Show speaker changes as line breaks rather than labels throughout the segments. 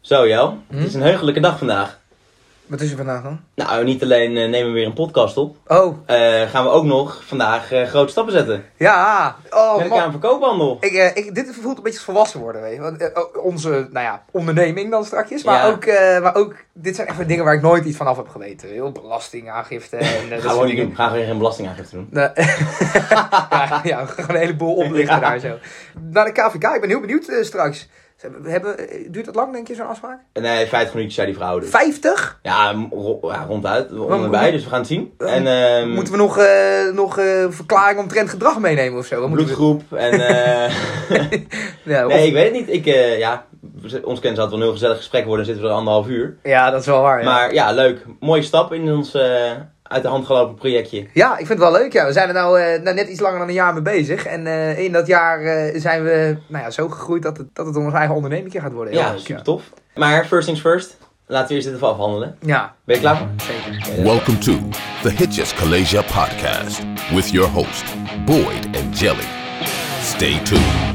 Zo Jel,
Hm?
het is een heugelijke dag vandaag.
Wat is er vandaag dan?
Nou, niet alleen eh, nemen we weer een podcast op,
Oh,
eh, gaan we ook nog vandaag eh, grote stappen zetten.
ja.
Met
Oh,
de
man.
Kamer van Koophandel.
Ik, eh, ik, dit voelt een beetje als volwassen worden, weet je. Want, eh, oh, onze, nou ja, onderneming dan strakjes. Maar,
Ja.
ook, eh, maar ook, dit zijn echt weer dingen waar ik nooit iets vanaf heb geweten. Heel belastingaangifte en eh, dat
Gaan we
soort
niet
dingen.
doen, gaan we weer geen belastingaangifte doen.
Nee. ja, ja, we gaan een heleboel oplichten daar zo. Naar de KVK, ik ben heel benieuwd eh, straks. Ze- We hebben, eh, duurt dat lang, denk je, zo'n afspraak?
Eh, Nee, 50 minuutjes zei die vrouw dus.
50?
Ja, m- ro- ja, ronduit, onderbij, dus we gaan het zien.
Eh,
En ehm,
Moeten we nog, eh, nog eh, verklaring omtrent gedrag meenemen of zo? Wat Moeten we,
bloedgroep en... eh,
ja, of-
nee, ik weet het niet. Ik, eh, ja, we- ons kennen zou het wel een heel gezellig gesprek worden, dan zitten we er anderhalf uur.
ja, dat is wel waar. Ah, ja.
Maar ja, leuk. Mooie stap in ons eh, uit de hand gelopen projectje.
Ja, ik vind het wel leuk. Ja. We zijn er nou, eh, nou net iets langer dan een jaar mee bezig. En eh, in dat jaar eh, zijn we nou ja, zo gegroeid dat het, dat het ons eigen onderneming gaat worden. Heel
Ja,
leuk,
super tof. Maar first things first, laten we eerst dit even afhandelen.
Ja,
Ben je klaar voor?
zeker.
Welcome to the Hitches Kalasia podcast with your host, Boyd and Jelly. Stay tuned.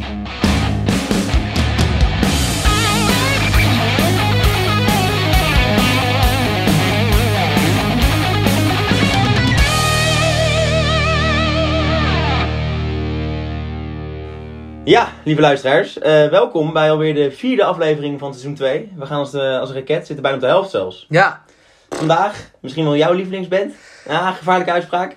Ja, lieve luisteraars, eh, welkom bij alweer de vierde aflevering van seizoen 2. We gaan als, de, als een raket, zitten bijna op de helft zelfs.
Ja,
Vandaag, misschien wel jouw lievelingsband. Ja, gevaarlijke uitspraak.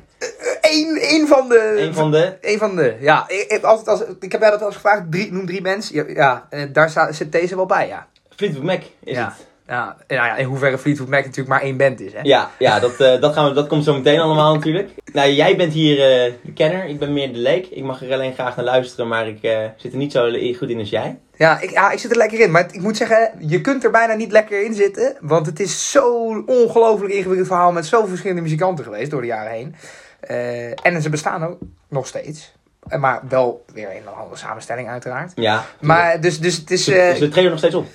één, één van de...
Een van de...
Eén van de, ja. Ik, ik, altijd als, ik heb jij dat wel eens gevraagd, drie, noem drie mensen. Ja, ja, eh, daar sta- zit deze wel bij, ja.
Fleetwood Mac is
ja.
het.
Ja, en nou ja, in hoeverre Fleetwood Mac natuurlijk maar één band is, hè.
Ja, ja dat, eh, dat, gaan we, dat komt zo meteen allemaal natuurlijk. Nou, jij bent hier eh, de kenner, ik ben meer de leek. Ik mag er alleen graag naar luisteren, maar ik eh, zit er niet zo goed in als jij.
Ja ik, ja, ik zit er lekker in. Maar het- ik moet zeggen, je kunt er bijna niet lekker in zitten. Want het is zo'n ongelooflijk ingewikkeld verhaal met zoveel verschillende muzikanten geweest door de jaren heen. Eh, en ze bestaan ook nog steeds. Eh, Maar wel weer een of andere samenstelling uiteraard.
Ja,
Maar dus, dus het is...
ze,
eh,
ze treden nog steeds op.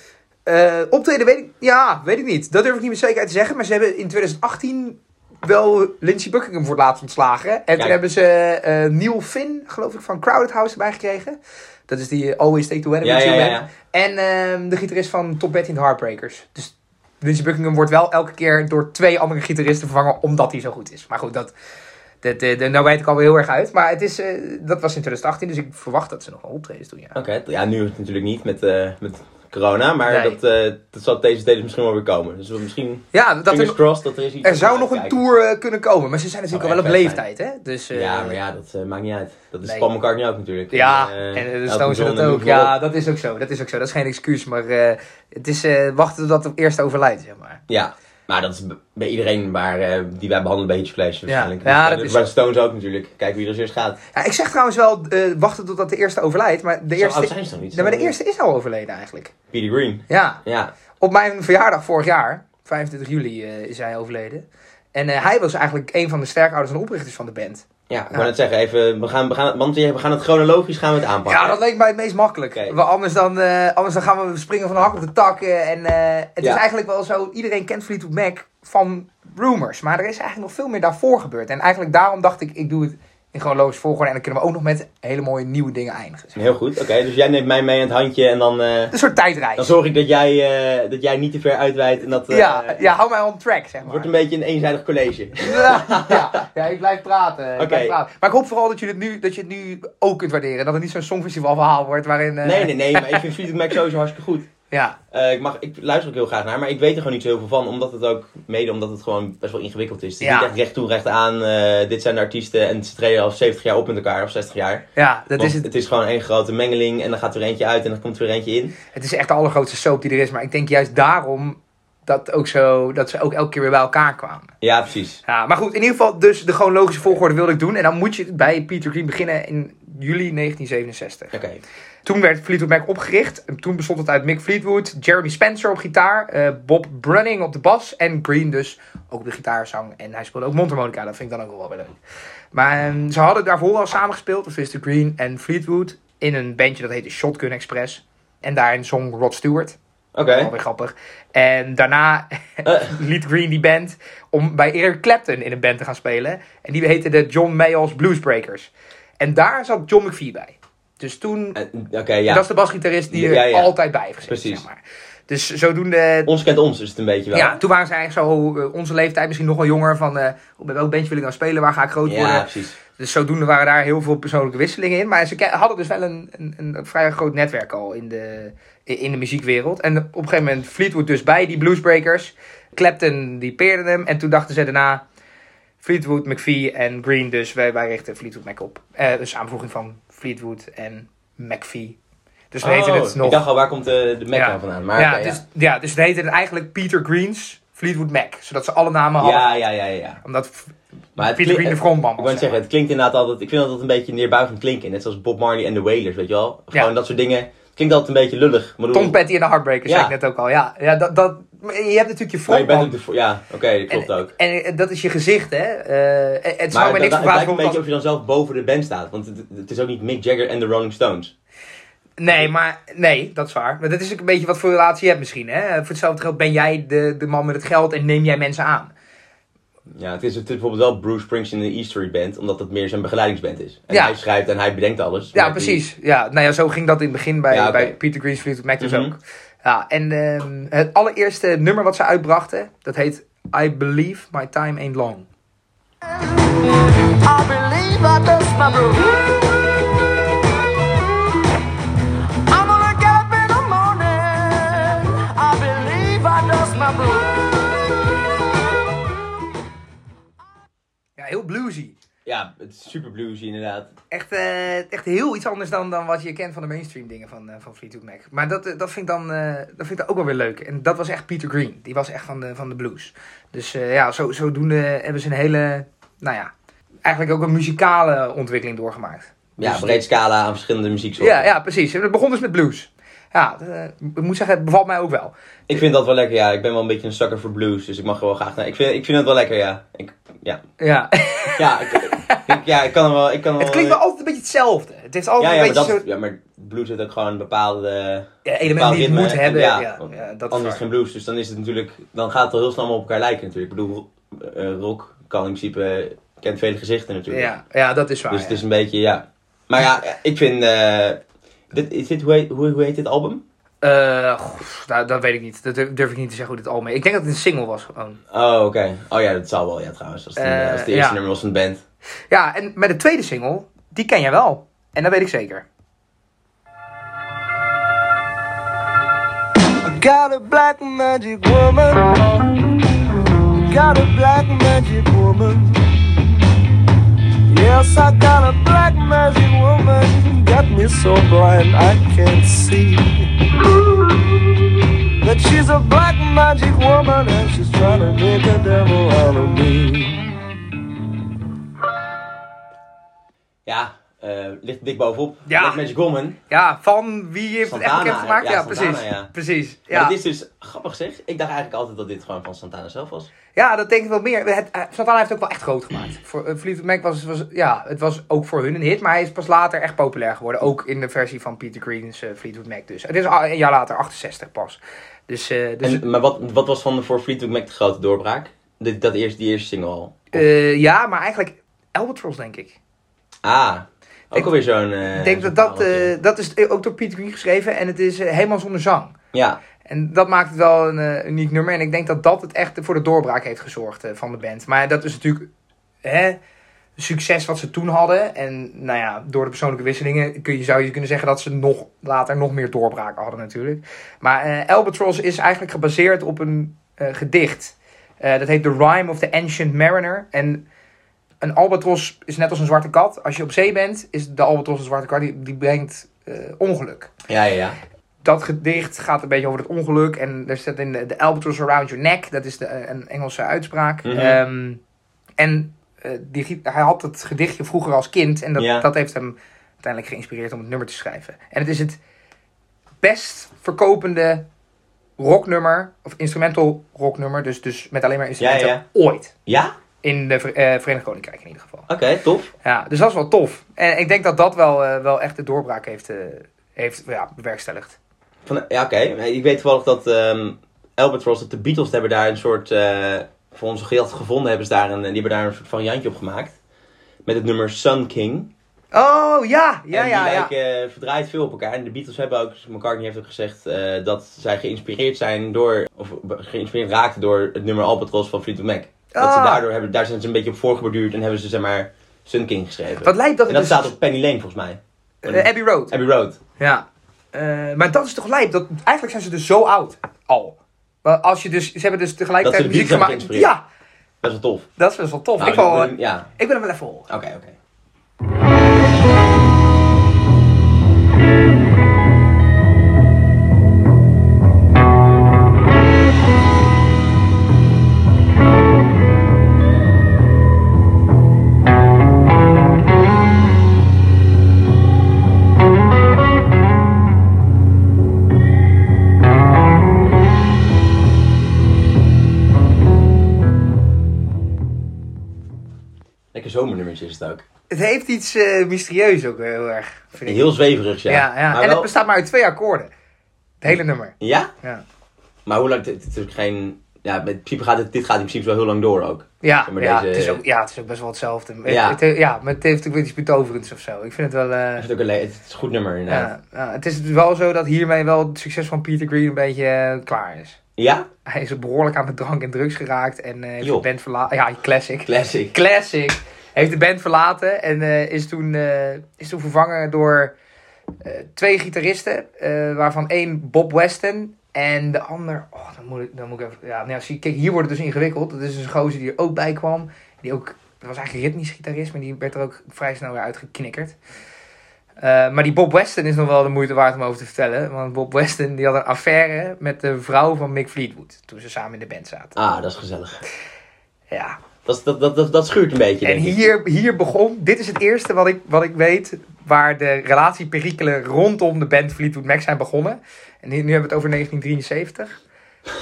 eh, optreden weet ik... Ja, weet ik niet. Dat durf ik niet met zekerheid te zeggen. Maar ze hebben in 2018 wel Lindsey Buckingham voor het laatst ontslagen. En
Kijk.
toen hebben ze eh Neil Finn, geloof ik, van Crowded House erbij gekregen. Dat is die eh, Always Take the Weather
Ja,
With
ja,
You
ja,
band.
ja.
En ehm, de gitarist van Top Bad in the Heartbreakers. Dus Lindsey Buckingham wordt wel elke keer door twee andere gitaristen vervangen omdat hij zo goed is. Maar goed, dat, dat, eh, nou weet ik alweer heel erg uit. Maar het is, eh, dat was in 2018, dus ik verwacht dat ze nog wel optredens doen, ja.
Oké, ja, nu is het natuurlijk niet met, eh, met corona, maar
Nee.
dat, eh, dat zal deze tijdens misschien wel weer komen. Dus we- misschien,
Ja, dat
fingers
er,
crossed, dat er is iets.
er zou
om
nog
te
een
kijken.
tour eh, kunnen komen, maar ze zijn natuurlijk
Zou
al wel op
echt vet zijn.
leeftijd, hè? Dus, eh,
Oh, Ja, maar ja, dat eh, maakt niet uit. Dat is
Nee.
Paul McCartney ook natuurlijk.
Ja,
eh,
en eh, de
Elton
Stones
John
doen dat
en
ook.
noem maar
Ja,
op.
dat is ook zo. Dat is ook zo. Dat is geen excuus, maar eh, het is eh, wachten tot het eerst overlijdt, zeg maar.
Ja, maar dat is b- bij iedereen waar, eh, die wij behandelen bij Hitch Flash waarschijnlijk.
ja,
Dus,
dat
eh,
is-
Bij de Stones ook natuurlijk. Kijk wie er als eerst gaat.
Ja, ik zeg trouwens wel eh, wachten totdat de eerste overlijdt, maar de
Zo
eerste...
oud zijn ze toch niet?
Nee, maar de eerste is al overleden eigenlijk.
Peter Green.
Ja,
Ja,
op mijn verjaardag vorig jaar, 25 juli, eh, is hij overleden. En eh, hij was eigenlijk een van de sterkouders en oprichters van de band.
ja ik
Ja.
wou net zeggen. Even, we gaan, we gaan, want we gaan het chronologisch gaan we het aanpakken.
Ja, dat leek mij het meest makkelijk.
Oké.
Want Anders, dan, eh, anders dan gaan we springen van de hak op de tak. eh, en eh, het
Ja.
is eigenlijk wel zo, iedereen kent Fleetwood Mac van rumors. Maar er is eigenlijk nog veel meer daarvoor gebeurd. En eigenlijk daarom dacht ik, ik doe het in chronologische volgorde. En dan kunnen we ook nog met hele mooie nieuwe dingen eindigen.
Heel goed, oké. dus jij neemt mij mee aan het handje en dan... eh,
Een soort tijdreis.
Dan zorg ik dat jij, eh, dat jij niet te ver uitwijdt en dat eh,
ja, Eh.
het
ja, hou mij on track, zeg maar.
wordt een beetje een eenzijdig college.
ja, ja, ik blijf praten. ik
Oké.
blijf praten. Maar ik hoop vooral dat je, het nu, dat je het nu ook kunt waarderen. Dat het niet zo'n songfestival verhaal wordt waarin... eh,
Nee, nee, nee, maar ik vind Fleetwood Mac sowieso hartstikke goed.
Ja,
Eh, ik, mag, ik luister ook heel graag naar, maar ik weet er gewoon niet zo heel veel van. Omdat het ook, mede omdat het gewoon best wel ingewikkeld is. Het is
Ja.
niet echt recht toe, recht aan. eh, dit zijn de artiesten en ze treden al 70 jaar op met elkaar, of 60 jaar.
ja, dat
Want
is het.
het is gewoon één grote mengeling en dan gaat er eentje uit en dan komt er weer eentje in.
Het is echt de allergrootste soap die er is. Maar ik denk juist daarom dat, ook zo, dat ze ook elke keer weer bij elkaar kwamen.
Ja, precies.
Ja, maar goed, in ieder geval dus de chronologische volgorde wilde ik doen. En dan moet je bij Peter Green beginnen in juli 1967.
Oké.
Toen werd Fleetwood Mac opgericht. En toen bestond het uit Mick Fleetwood, Jeremy Spencer op gitaar, eh, Bob Brunning op de bas en Green dus ook op de gitaarzang. En hij speelde ook mondharmonica, dat vind ik dan ook wel weer leuk. Maar ehm, ze hadden daarvoor al samengespeeld, of is de Green en Fleetwood, in een bandje dat heette Shotgun Express. En daarin zong Rod Stewart.
Oké. Eh.
Wel weer grappig. En daarna liet Green die band om bij Eric Clapton in een band te gaan spelen. En die heette de John Mayall's Bluesbreakers. En daar zat John McVie bij. Dus toen...
Eh, Oké, ja.
Dat is de basgitarist die er
Ja, ja.
altijd bij heeft gezeten,
Precies.
zeg maar. Dus zodoende
Ons kent ons, dus het een beetje wel.
ja, toen waren ze eigenlijk zo eh, onze leeftijd misschien nog wel jonger. Van eh, bij welk bandje wil ik nou spelen, waar ga ik groot
Ja,
worden.
precies.
Dus zodoende waren daar heel veel persoonlijke wisselingen in. Maar ze ke- hadden dus wel een, een, een vrij groot netwerk al in de, in de muziekwereld. En op een gegeven moment Fleetwood dus bij die Bluesbreakers. Clapton die peerde hem. En toen dachten ze daarna Fleetwood, McVie en Green. Dus wij, wij richten Fleetwood Mac op. Eh, een samenvoeging van Fleetwood en McVie. Dus we heten het
Oh,
nog...
Ik dacht al, waar komt de, de Mac
Ja.
nou vandaan? Maar
ja,
oké,
dus, ja, dus het heette het eigenlijk Peter Green's Fleetwood Mac. Zodat ze alle namen hadden.
ja. Ja, ja, ja, ja.
Omdat
Maar het
Peter
kli-
Green de frontman
Ik
was.
wou net
zeg
zeggen, het klinkt inderdaad altijd, ik vind dat het een beetje neerbuigend klinken. Net zoals Bob Marley en de Wailers, weet je wel. Gewoon
Ja.
dat soort dingen. Het klinkt altijd een beetje lullig. Maar
maar.
bedoel-
Tom Petty en de Heartbreakers, zei
Ja.
ik net ook al. Ja, ja dat, dat, maar je hebt natuurlijk je
Maar je bent ook
frontman.
de vo- Ja, oké, dat klopt ook.
en, en dat is je gezicht, hè. Eh, het-
Maar
het zou
het,
mij
het
niks verbazen.
lijkt een beetje
bijvoorbeeld
of je dan zelf boven de band staat. Want het, het is ook niet Mick Jagger en de Rolling Stones.
als- Nee, maar, nee, dat is waar. Maar dat is ook een beetje wat voor relatie je hebt misschien, hè. Voor hetzelfde geld ben jij de, de man met het geld en neem jij mensen aan.
Ja, het is, het is bijvoorbeeld wel Bruce Springsteen in de E Street Band. Omdat dat meer zijn begeleidingsband is. En
Ja.
hij schrijft en hij bedenkt alles.
Ja,
Maar die-
precies. Ja, nou ja, zo ging dat in het begin bij,
Ja, oké.
bij Peter Green's Fleetwood Mac dus
Mhm.
ook. Ja, en ehm, het allereerste nummer wat ze uitbrachten, dat heet I Believe My Time Ain't Long.
I believe I dust my broom. I'm gonna get up in the morning. I believe I dust my broom.
Ja, heel bluesy.
Ja, het is super bluesy inderdaad.
Echt, eh, echt heel iets anders dan, dan wat je kent van de mainstream dingen van, eh, van Fleetwood Mac. Maar dat, eh, dat, vind ik dan, eh, dat vind ik dan ook wel weer leuk. En dat was echt Peter Green. Die was echt van de, van de blues. Dus eh, ja, zo, zodoende hebben ze een hele, nou ja, eigenlijk ook een muzikale ontwikkeling doorgemaakt.
Ja,
Dus-
breed scala aan verschillende muzieksoorten.
Ja, ja, precies. En Het begon dus met blues. Ja, eh, ik moet zeggen, het bevalt mij ook wel.
Ik vind dat wel lekker, ja. Ik ben wel een beetje een sucker voor blues, dus ik mag er wel graag naar. Ik vind, ik vind het wel lekker, ja. Ik, ja.
Ja.
Oh, Ja, ik, ik- ja, ik kan hem wel... Ik kan hem
het klinkt wel altijd een beetje hetzelfde. Het heeft altijd
Ja, ja,
een
maar
beetje
dat,
zo'n
ja, maar blues heeft ook gewoon een bepaalde...
element
bepaald
die het
ritme
moet
en-
hebben. Ja,
eh, Ja,
ja,
want
dat is
Anders
waar.
geen blues, dus dan is het natuurlijk... Dan gaat het wel heel snel op elkaar lijken natuurlijk. Ik bedoel, eh, rock kan in principe... eh, kent vele gezichten natuurlijk.
Ja, ja, dat is waar.
dus
ja.
het is een beetje, ja... Maar ja, ik vind... eh, dit, is dit, hoe, heet, hoe, hoe heet dit album?
Eh, goh, dat, dat weet ik niet. Dat durf durf ik niet te zeggen hoe dit al mee. Ik denk dat het een single was gewoon.
Oh, oké. Oh ja, dat zou wel, ja trouwens. Als het, een-
Eh,
als het de eerste
ja.
nummer was van de band.
Ja, en met de tweede single, die ken jij wel. En dat weet ik zeker.
Got a black magic woman. Got a black magic woman. Yes, I got a black magic woman. Got me so blind I can't see. That she's a black magic woman and she's trying to make a devil out of me.
Ja, eh, ligt dik bovenop.
Ja.
Met Magic Woman.
Ja, van wie heeft het echt
Santana,
bekend gemaakt? Ja,
ja, Santana,
precies.
ja.
Precies.
Ja.
Ja.
het is dus grappig zeg. Ik dacht eigenlijk altijd dat dit gewoon van Santana zelf was.
Ja, dat denk ik wel meer. Het, eh, Santana heeft het ook wel echt groot gemaakt. Voor, eh, Fleetwood Mac was, was, ja, het was ook voor hun een hit, maar hij is pas later echt populair geworden. Ook in de versie van Peter Green's eh, Fleetwood Mac dus. Het is al een jaar later, 68 pas. Dus, eh, dus
En, maar wat, wat was van de voor Fleetwood Mac de grote doorbraak? Dit- dat eerste, die eerste single al.
eh, ja, maar eigenlijk Albatross denk ik.
Ah, ook
Ik-
alweer zo'n... eh,
Ik denk
zo'n
dat dat,
pareltje.
eh, dat is eh, ook door Peter Green geschreven en het is eh, helemaal zonder zang.
ja,
En dat maakt het wel een eh, uniek nummer. En ik denk dat dat het echt voor de doorbraak heeft gezorgd eh, van de band. Maar dat is natuurlijk hè, succes wat ze toen hadden. En nou ja, door de persoonlijke wisselingen kun je, zou je kunnen zeggen dat ze nog later nog meer doorbraken hadden natuurlijk. Maar eh Albatross is eigenlijk gebaseerd op een eh, gedicht. Eh, dat heet The Rhyme of the Ancient Mariner. En een albatros is net als een zwarte kat. Als je op zee bent, is de albatros een zwarte kat. Die, die brengt eh, ongeluk
ja, ja, ja.
dat gedicht gaat een beetje over het ongeluk. En er staat in de, de albatross around your neck. Dat is de, eh, een Engelse uitspraak.
Mhm.
Ehm, en eh, die, gi- hij had het gedichtje vroeger als kind. En dat,
Ja.
dat heeft hem uiteindelijk geïnspireerd om het nummer te schrijven. En het is het best verkopende rocknummer. Of instrumental rocknummer. Dus, dus met alleen maar instrumenten.
Ja, ja.
Ooit.
Ja?
In de Ver- eh, Verenigd Koninkrijk in ieder geval.
Oké, tof.
Ja, dus dat is wel tof. En ik denk dat dat wel, eh, wel echt de doorbraak heeft, eh, heeft ja, bewerkstelligd.
Van, ja, oké. Ik weet toevallig dat ehm Albatross, dat de Beatles hebben daar een soort... eh, voor eh, ons geld gevonden hebben ze daar een... Die hebben daar een soort variantje op gemaakt. Met het nummer Sun King.
Oh, ja. Ja,
en
ja,
die
ja.
lijken eh, verdraaid veel op elkaar. En de Beatles hebben ook, McCartney heeft ook gezegd eh, dat zij geïnspireerd zijn door, of geïnspireerd raakten door het nummer Albatros van Fleetwood Mac. Dat ze
Ah.
daardoor hebben, daar zijn ze een beetje op voorgeborduurd en hebben ze zeg maar Sun King geschreven.
Wat lijkt dat
en
het
dat
dus-
staat op Penny Lane volgens mij.
Eh, Abbey Road.
Abbey Road.
Ja. Eh, maar dat is toch lijp? Dat, eigenlijk zijn ze dus zo oud al. Maar als je dus, ze hebben dus
Dat ze
tegelijkertijd
de
muziek
Beatles
gemaakt.
hebben geïnspireerd.
Ja,
Best wel tof.
dat is best wel tof.
Nou,
ik, wil,
dat- Ja,
ik wil hem wel even horen.
oké, oké. Lekker zomernummertje is het ook.
Het heeft iets eh, mysterieus ook weer heel erg. Vind ik.
Heel zweverigs, ja.
ja, ja.
Maar
en
wel-
het bestaat maar uit twee akkoorden. Het hele nummer.
Ja?
Ja.
Maar hoe lang, dit, dit is ook geen... Ja, in principe gaat het, dit gaat in principe wel heel lang door ook.
Ja,
Zeg maar
ja,
deze-
het is ook, ja, het is ook best wel hetzelfde.
Ja.
Ja, het, het- ja maar het heeft ook weer iets betoverends of zo. Ik vind het wel... eh,
Het is ook een, le- het is een goed nummer inderdaad.
ja, ja, het is dus wel zo dat hiermee wel het succes van Peter Green een beetje eh, klaar is.
Ja?
Hij is behoorlijk aan de drank en drugs geraakt en eh heeft
Joh.
de band verlaten. Ja, classic.
Classic.
Classic. Heeft de band verlaten en eh, is, toen, eh, is toen vervangen door eh, twee gitaristen. eh, waarvan één Bob Weston en de ander... Oh, dan moet ik, dan moet ik even... Ja, nou, ja, zie, kijk, hier wordt het dus ingewikkeld. Dat is dus een gozer die er ook bij kwam. Die ook... Dat was eigenlijk ritmisch gitarist, maar die werd er ook vrij snel weer uitgeknikkerd. Eh, maar die Bob Weston is nog wel de moeite waard om over te vertellen. Want Bob Weston die had een affaire met de vrouw van Mick Fleetwood. Toen ze samen in de band zaten.
Ah, dat is gezellig.
Ja,
Dat, dat, dat, dat, dat schuurt een beetje,
En
denk ik.
hier, hier begon, dit is het eerste wat ik, wat ik weet waar de relatieperikelen rondom de band Fleetwood Mac zijn begonnen. En nu, nu hebben we het over 1973.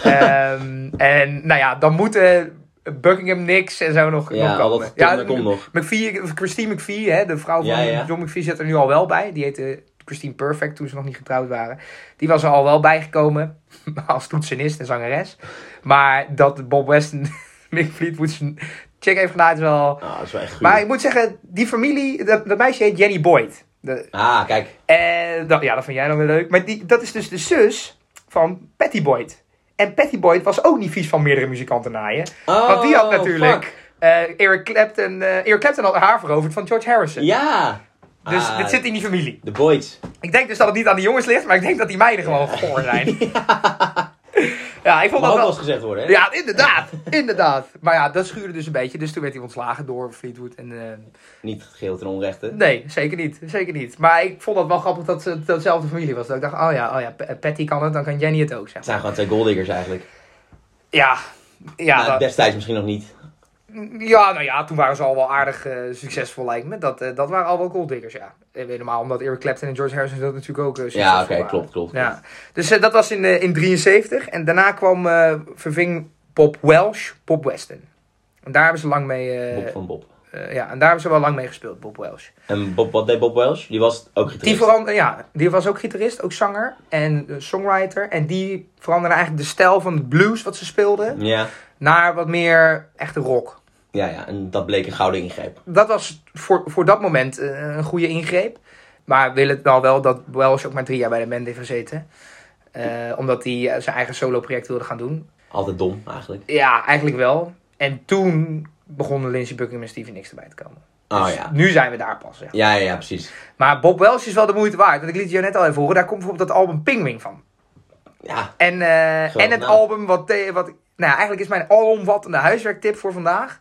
Ehm, en nou ja, dan moeten Buckingham Nicks en zo nog,
Ja,
nog
al
komen.
dat ja, komt nog.
McVie, Christine McVie, hè, de vrouw van
Ja, ja.
John McVie, zit er nu al wel bij. Die heette Christine Perfect toen ze nog niet getrouwd waren. Die was er al wel bijgekomen als toetsenist en zangeres. Maar dat Bob Weston Mick Fleetwood zijn check heeft gedaan is wel...
Ah, dat is wel echt goed.
Maar ik moet zeggen, die familie, dat, dat meisje heet Jenny Boyd. De,
Ah, kijk.
eh, dat, ja, dat vind jij dan weer leuk. Maar die, dat is dus de zus van Patty Boyd. En Patty Boyd was ook niet vies van meerdere muzikanten naaien.
Oh,
want die had natuurlijk
fuck.
eh, Eric Clapton... eh, Eric Clapton had haar veroverd van George Harrison.
Ja!
Dus
Ah,
dit zit in die familie.
De boys.
Ik denk dus dat het niet aan de jongens ligt, maar ik denk dat die meiden gewoon goor zijn. Ja,
Mag
ik vond dat
ook
wel...
wel eens gezegd worden, hè?
Ja, inderdaad. Inderdaad. Maar ja, dat schuurde dus een beetje. Dus toen werd hij ontslagen door Fleetwood. En, eh,
Niet geheel ten onrechte.
nee, zeker niet. Zeker niet. Maar ik vond dat wel grappig dat ze dezelfde familie was. Dat ik dacht, oh ja, oh ja P- Patty kan het, dan kan Jenny het ook,
Het
zeg maar.
zijn gewoon twee goldiggers eigenlijk.
Ja. Ja,
Nou,
dat-
destijds misschien nog niet.
ja, nou ja, toen waren ze al wel aardig eh, succesvol, lijkt me. Dat, eh, dat waren al wel golddiggers, ja. Eh, Helemaal omdat Eric Clapton en George Harrison dat natuurlijk ook eh, succesvol
Ja, oké,
waren.
klopt, klopt.
Ja. Dus eh, dat was in, eh, in 73. En daarna kwam, eh, verving Bob Welsh Bob Weston. En daar hebben ze lang mee... eh,
Bob van Bob.
eh, ja, en daar hebben ze wel lang mee gespeeld, Bob Welsh.
En Bob, wat deed Bob Welsh? Die was ook gitarist.
Die, veranderde, ja, die was ook gitarist, ook zanger en eh, songwriter. En die veranderde eigenlijk de stijl van de blues wat ze speelden...
Ja.
naar wat meer echte rock.
ja, ja, en dat bleek een gouden ingreep.
Dat was voor, voor dat moment eh, een goede ingreep. Maar wil het wel wel dat Welsh ook maar drie jaar bij de band heeft gezeten. Eh, omdat hij eh, zijn eigen solo-project wilde gaan doen.
Altijd dom, eigenlijk.
Ja, eigenlijk wel. En toen begonnen Lindsey Buckingham en Stevie Nicks erbij te komen.
Oh
Dus
ja.
Nu zijn we daar pas. Ja.
Ja, ja, ja, precies.
Maar Bob Welsh is wel de moeite waard. Want ik liet je net al even horen. Daar komt bijvoorbeeld dat album Pingwing van.
Ja,
En, eh, en het
nou.
album wat, eh, wat... Nou ja, eigenlijk is mijn alomvattende huiswerktip voor vandaag.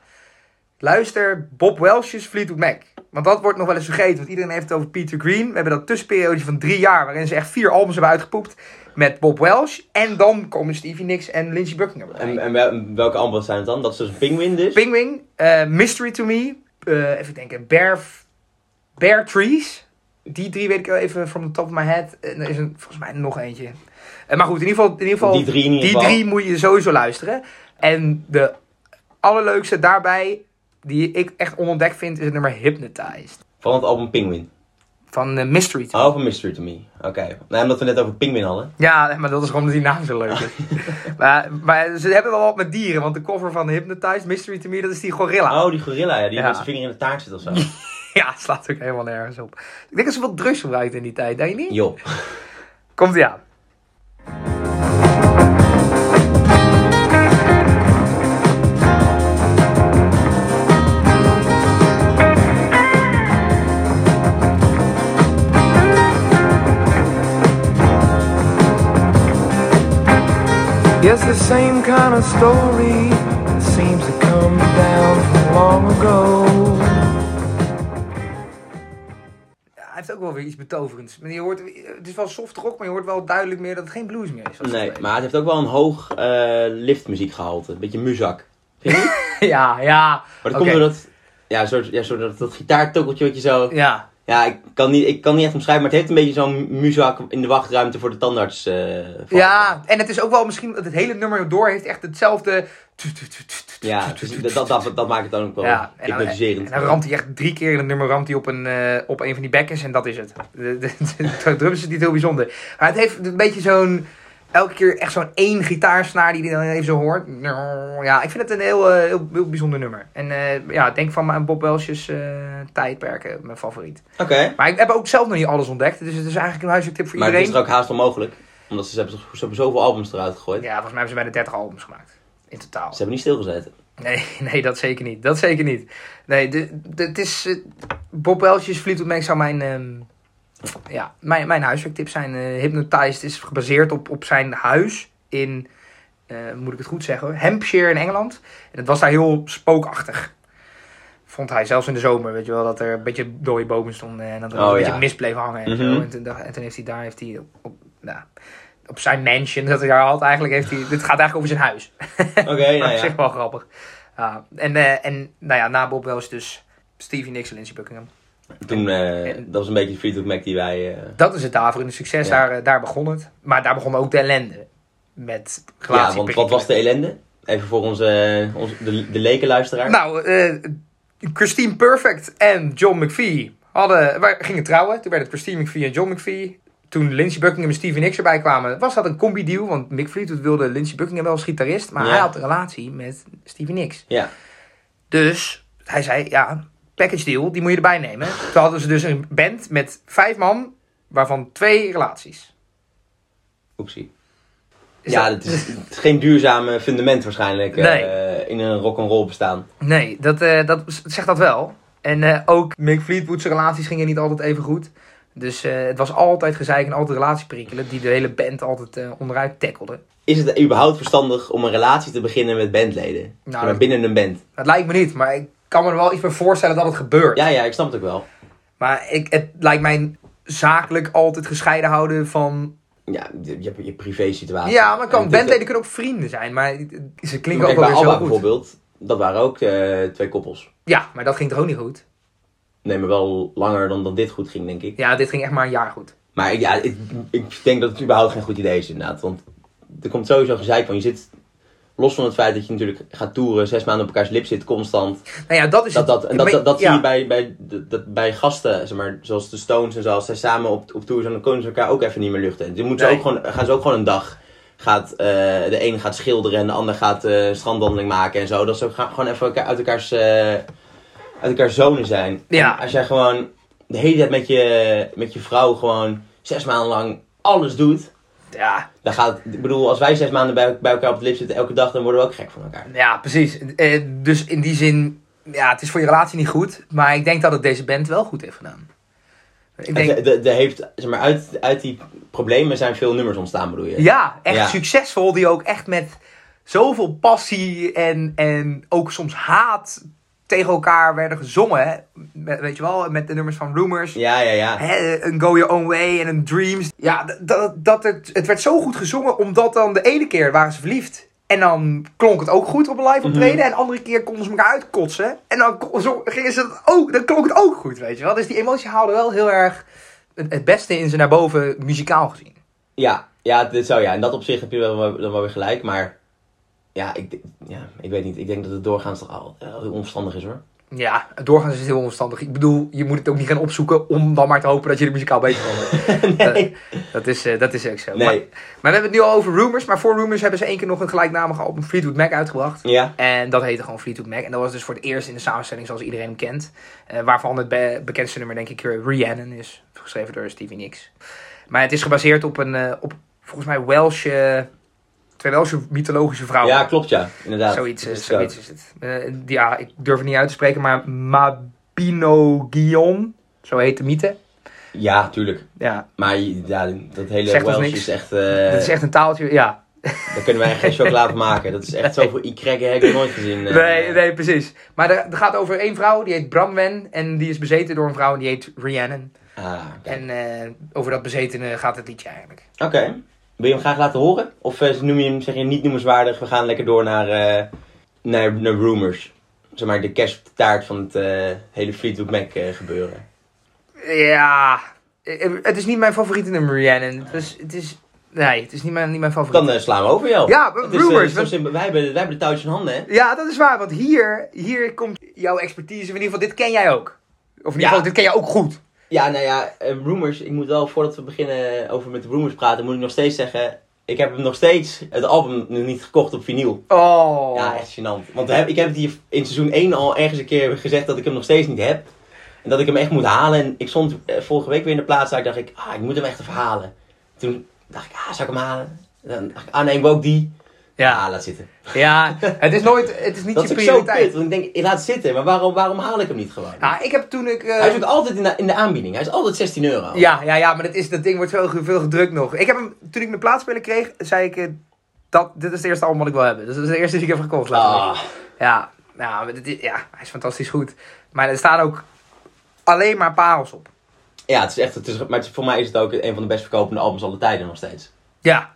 Luister Bob Welsh's Fleetwood Mac. Want dat wordt nog wel eens vergeten. Want iedereen heeft het over Peter Green. We hebben dat tussenperiode van drie jaar. Waarin ze echt vier albums hebben uitgepoept. Met Bob Welsh. En dan komen Stevie Nicks en Lindsey Buckingham. erbij.
en, en wel- welke ambas zijn het dan? Dat is dus een pinguïn dus?
Penguin, eh, Mystery to Me, eh, even denken, Bear, Bear Trees. Die drie weet ik wel even from the top of my head. En er is een, volgens mij nog eentje. Eh, maar goed, in ieder geval, in ieder geval
Die drie in ieder
die
geval.
drie moet je sowieso luisteren. En de allerleukste daarbij, die ik echt onontdekt vind, is het nummer Hypnotized.
Van het album Penguin.
Van eh, Mystery to Me.
Oh, van Mystery to Me. Oké. Nou, omdat we net over Penguin hadden.
Ja, maar dat is gewoon omdat die naam zo leuk is. maar, maar ze hebben wel wat met dieren, want de cover van Hypnotized, Mystery to Me, dat is die gorilla.
Oh, die gorilla, ja, die
Ja.
met zijn vinger in de taart zit of zo.
ja, het slaat ook helemaal nergens op. Ik denk dat ze wat drugs gebruikte in die tijd, denk je niet?
Joh.
Komt ie aan.
Yes, the same kind of story that seems to come down from long ago.
Ja, hij heeft ook wel weer iets betoverends. Maar je hoort, het is wel soft rock, maar je hoort wel duidelijk meer dat het geen blues meer is. als
Nee,
het-
maar het heeft ook wel een hoog eh liftmuziekgehalte. Een beetje muzak. Vind je niet?
Ja, ja.
Maar dat
Oké.
komt door dat, ja, een soort, ja, een soort dat, dat gitaartokkeltje wat je zo...
Ja,
Ja, ik kan, niet, ik kan niet echt omschrijven, maar het heeft een beetje zo'n muzak in de wachtruimte voor de tandarts. eh, van.
ja, en het is ook wel misschien, het hele nummer door heeft echt hetzelfde...
Ja, dus dat, dat, dat, dat maakt het dan ook wel
Ja, en dan, en
hypnotiserend.
dan ramt hij echt drie keer in het nummer ramt hij op, een, eh, op een van die bekkens en dat is het. De, de, de, de drums is niet heel bijzonder. Maar het heeft een beetje zo'n, elke keer echt zo'n één gitaarsnaar die je dan even zo hoort. Ja, ik vind het een heel, eh, heel, heel bijzonder nummer. En eh, ja, ik denk van mijn Bob Welsh's eh, tijdperken, mijn favoriet.
Oké,
Maar ik heb ook zelf nog niet alles ontdekt, dus het is eigenlijk een huiselijk tip voor
maar het is
iedereen.
er ook haast onmogelijk. Omdat ze, ze hebben, ze hebben zoveel albums eruit gegooid.
Ja, volgens mij hebben ze bijna 30 albums gemaakt. In totaal.
Ze hebben niet stilgezeten.
Nee, nee, dat zeker niet. Dat zeker niet. Nee, de, de, het is... eh, Bob Welch's Fleetwood Mac zou mijn... ehm, ja, mijn, mijn huiswerktip zijn. eh, Hypnotized is gebaseerd op, op zijn huis in... eh, moet ik het goed zeggen? hoor, Hampshire in Engeland. En het was daar heel spookachtig. Vond hij zelfs in de zomer, weet je wel, dat er een beetje dode bomen stonden en dat er
Oh,
een
ja.
beetje mist bleef hangen. En,
Mhm.
zo. en, toen, dacht- en toen heeft hij daar, heeft hij op, op, nou, op zijn mansion dat hij daar had, eigenlijk heeft hij, dit gaat eigenlijk over zijn huis.
Oké, nou
Maar op
ja.
zich wel grappig. Ja, en, eh, en nou ja, na Bob Wells dus Stevie Nicks en Lindsey Buckingham.
Toen, eh, dat was een beetje Fleetwood Mac die wij... eh,
Dat is het daarvoor in succes.
Ja.
Daar, eh, daar begon het. Maar daar begon ook de ellende. Met
ja,
relatie.
want wat was de ellende? Even voor onze, eh, onze, de, de lekenluisteraar.
Nou, eh, Christine Perfect en John McVie hadden, wa- gingen trouwen. Toen werden het Christine McVie en John McVie. Toen Lindsey Buckingham en Stevie Nicks erbij kwamen, was dat een combi-deal. Want Mick Fleetwood wilde Lindsey Buckingham wel als gitarist. Maar
Ja.
hij had een relatie met Stevie Nicks.
Ja,
Dus hij zei, ja, package deal, die moet je erbij nemen. Toen hadden ze dus een band met vijf man, waarvan twee relaties.
oepsie.
Is
ja,
dat-
dat is, het is geen duurzame fundament waarschijnlijk eh,
Nee.
in een rock'n'roll bestaan.
Nee, dat, eh, dat zegt dat wel. En eh, ook Mick Fleetwood's relaties gingen niet altijd even goed. Dus eh, het was altijd gezeik en altijd relatieperikelen die de hele band altijd eh, onderuit tackelde.
Is het überhaupt verstandig om een relatie te beginnen met bandleden?
Nou,
maar
dat-
binnen een band.
Dat lijkt me niet, maar ik kan me er wel iets bij voorstellen dat het gebeurt.
Ja, ja, ik snap het ook wel.
Maar ik, het lijkt mij zakelijk altijd gescheiden houden van
Ja, je je hebt je privé situatie.
Ja, maar kan,
En dit-
bandleden kunnen ook vrienden zijn, maar ze klinken ook
Kijk,
wel
bij
weer zo
ABBA
goed.
bijvoorbeeld, dat waren ook eh, twee koppels.
Ja, maar dat ging toch ook niet goed?
Nee, maar wel langer dan dat dit goed ging, denk ik.
Ja, dit ging echt maar een jaar goed.
Maar ik- ja, ik, ik denk dat het überhaupt geen goed idee is inderdaad. Want er komt sowieso gezeik van. Je zit, los van het feit dat je natuurlijk gaat toeren, zes maanden op elkaars lip zit constant.
Nou ja, dat is
Dat,
het.
dat, en dat,
Maar-
dat, dat
ja.
zie je bij, bij, dat- dat, bij gasten, zeg maar, zoals de Stones en zo. Als zij samen op, op tour zijn, dan kunnen ze elkaar ook even niet meer luchten. Dan moeten ze
Nee.
ook gewoon, gaan ze ook gewoon een dag. Gaat, eh, de een gaat schilderen en de ander gaat eh, strandwandeling maken en zo. Dat ze ook ga- gewoon even elkaar, uit, elkaars, eh, uit elkaar zonen zijn.
Ja.
En als jij gewoon de hele tijd met je, met je vrouw gewoon zes maanden lang alles doet.
Ja,
Dan gaat, het- ik bedoel, als wij zes maanden bij, bij elkaar op het lip zitten elke dag, dan worden we ook gek van elkaar.
ja, precies. Eh, dus in die zin, ja, het is voor je relatie niet goed, maar ik denk dat het deze band wel goed heeft gedaan. Ik denk,
De, de, de heeft, zeg maar, uit, uit die problemen zijn veel nummers ontstaan, bedoel je?
ja, echt
Ja.
succesvol, die ook echt met zoveel passie en, en ook soms haat tegen elkaar werden gezongen. hè. Met, weet je wel, met de nummers van Rumors.
Ja, ja, ja.
Hè, een Go Your Own Way en een Dreams. Ja, d- dat, dat het, het werd zo goed gezongen, omdat dan de ene keer waren ze verliefd. En dan klonk het ook goed op een
Mhm.
live optreden. En de andere keer konden ze elkaar uitkotsen. En dan kon- zo gingen ze dat ook, dan klonk het ook goed, weet je wel. Dus die emotie haalde wel heel erg het, het beste in ze naar boven, muzikaal gezien.
Ja, ja, dit zou ja. In dat opzicht heb je wel, dan wel weer gelijk, maar ja ik, d- ja, ik weet niet. Ik denk dat het doorgaans toch al heel onverstandig is hoor.
Ja, doorgaans is het heel onverstandig. Ik bedoel, je moet het ook niet gaan opzoeken om dan maar te hopen dat je er muzikaal beter van wordt.
Nee.
Eh, dat, is, eh, dat is ook zo.
Nee.
Maar, maar we hebben het nu al over Rumors. Maar voor Rumors hebben ze één keer nog een gelijknamige album Fleetwood Mac uitgebracht.
Ja.
En dat heette gewoon Fleetwood Mac. En dat was dus voor het eerst in de samenstelling zoals iedereen hem kent. Eh, waarvan het be- bekendste nummer denk ik eh, Rhiannon is. Geschreven door Stevie Nicks. Maar het is gebaseerd op een, eh, op volgens mij Welsh, eh, twee Welsh mythologische vrouwen.
Ja, klopt ja, inderdaad.
oh. Zoiets,
Dat
is,
is het ook.
zoiets is het. Eh, die- ja, ik durf het niet uit te spreken, maar Mabinogion, zo heet de mythe.
Ja, tuurlijk.
Ja,
Maar ja, dat hele
Zegt ons
Welsh
niks.
is echt, eh,
dat is echt een taaltje, ja.
daar kunnen wij echt geen chocola van maken. Dat is echt zoveel ikrekken heb ik nog nooit gezien. eh.
Nee, nee, precies. Maar er, er gaat over één vrouw, die heet Bramwen, en die is bezeten door een vrouw en die heet Rhiannon.
Ah, oké.
En eh, over dat bezetene gaat het liedje eigenlijk.
Oké. Wil je hem graag laten horen? Of eh, noem je hem, zeg je niet noemenswaardig, we gaan lekker door naar, eh, naar, naar rumors. Zeg maar de kerstaart van het eh, hele Fleetwood Mac eh, gebeuren.
Ja, eh, eh, het is niet mijn favoriete nummer, Rhiannon. Dus het is, nee, het is niet mijn, niet mijn favoriete.
Dan eh, slaan we over jou.
Ja,
Dat
rumors,
eh, zo
want-
simpel. wij, hebben, wij hebben de touwtjes in handen, hè?
Ja, dat is waar, want hier, hier komt jouw expertise. In ieder geval, dit ken jij ook. Of in ieder
Ja.
geval, dit ken jij ook goed.
Ja, nou ja, eh, rumors. Ik moet wel, voordat we beginnen eh, over met de rumors praten, moet ik nog steeds zeggen... Ik heb hem nog steeds, het album, nog niet gekocht op vinyl.
Oh.
Ja, echt gênant. Want we hebben- ik heb het hier in seizoen 1 al ergens een keer gezegd dat ik hem nog steeds niet heb. En dat ik hem echt moet halen. En ik stond eh, vorige week weer in de plaats waar ik dacht, ik, ah, ik moet hem echt even halen. Toen dacht ik, ah, zou ik hem halen? Dan dacht ik, ah nee, ik wil ook die. Ah,
ja.
laat zitten.
ja. Het is nooit, het is niet
Dat is
je
ook zo kut.
prioriteit.
Want ik denk, ik laat zitten. Maar waarom, waarom haal ik hem niet gewoon?
Ja, ik heb toen ik... eh,
Hij is ook altijd in de, in de aanbieding. Hij is altijd 16 euro.
ja, ja, ja, maar dat, is, dat ding wordt veel, veel gedrukt nog. Ik heb hem, toen ik mijn plaatsspeler kreeg, zei ik... eh, dat, dit is het eerste album wat ik wil hebben. Dus dat is de eerste die ik heb gekocht. laten we
Ah.
zeggen. Ja, nou, maar dit is- ja, hij is fantastisch goed. Maar er staan ook alleen maar parels op.
ja, het is echt, het is, maar het is- voor mij is het ook een van de best verkopende albums alle tijden nog steeds.
Ja,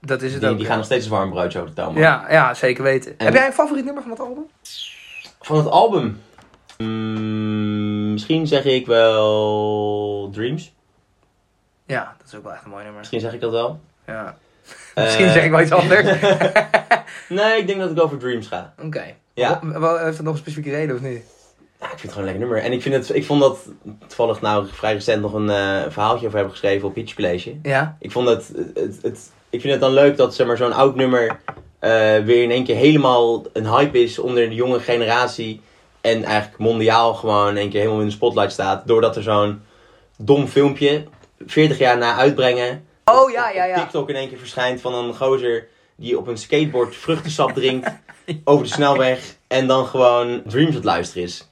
dat is het
Die,
ook.
die
ja.
gaan nog steeds een warm broodje over de toon.
ja, ja, zeker weten. Heb jij een favoriet nummer van dat album?
Van het album? Mm, misschien zeg ik wel Dreams.
Ja, dat is ook wel echt een mooi nummer.
Misschien zeg ik dat wel.
Ja.
Eh,
Misschien zeg ik wel iets anders. Oké.
Nee, ik denk dat ik over Dreams ga. Ja.
Wa- wa- Heeft dat nog een specifieke reden of niet?
Ja, ik vind het gewoon een lekker nummer. En ik, vind het, ik vond dat toevallig nou vrij recent nog een eh, verhaaltje over hebben geschreven op Hitch College.
Ja.
Ik vond dat het, het, het- ik vind het dan leuk dat zeg maar, zo'n oud nummer eh, weer in één keer helemaal een hype is onder de jonge generatie. En eigenlijk mondiaal gewoon in één keer helemaal in de spotlight staat. Doordat er zo'n dom filmpje, 40 jaar na uitbrengen,
Oh ja, ja,
op
ja.
TikTok in één keer verschijnt van een gozer die op een skateboard vruchtensap drinkt over de snelweg en dan gewoon Dreams aan het luisteren is.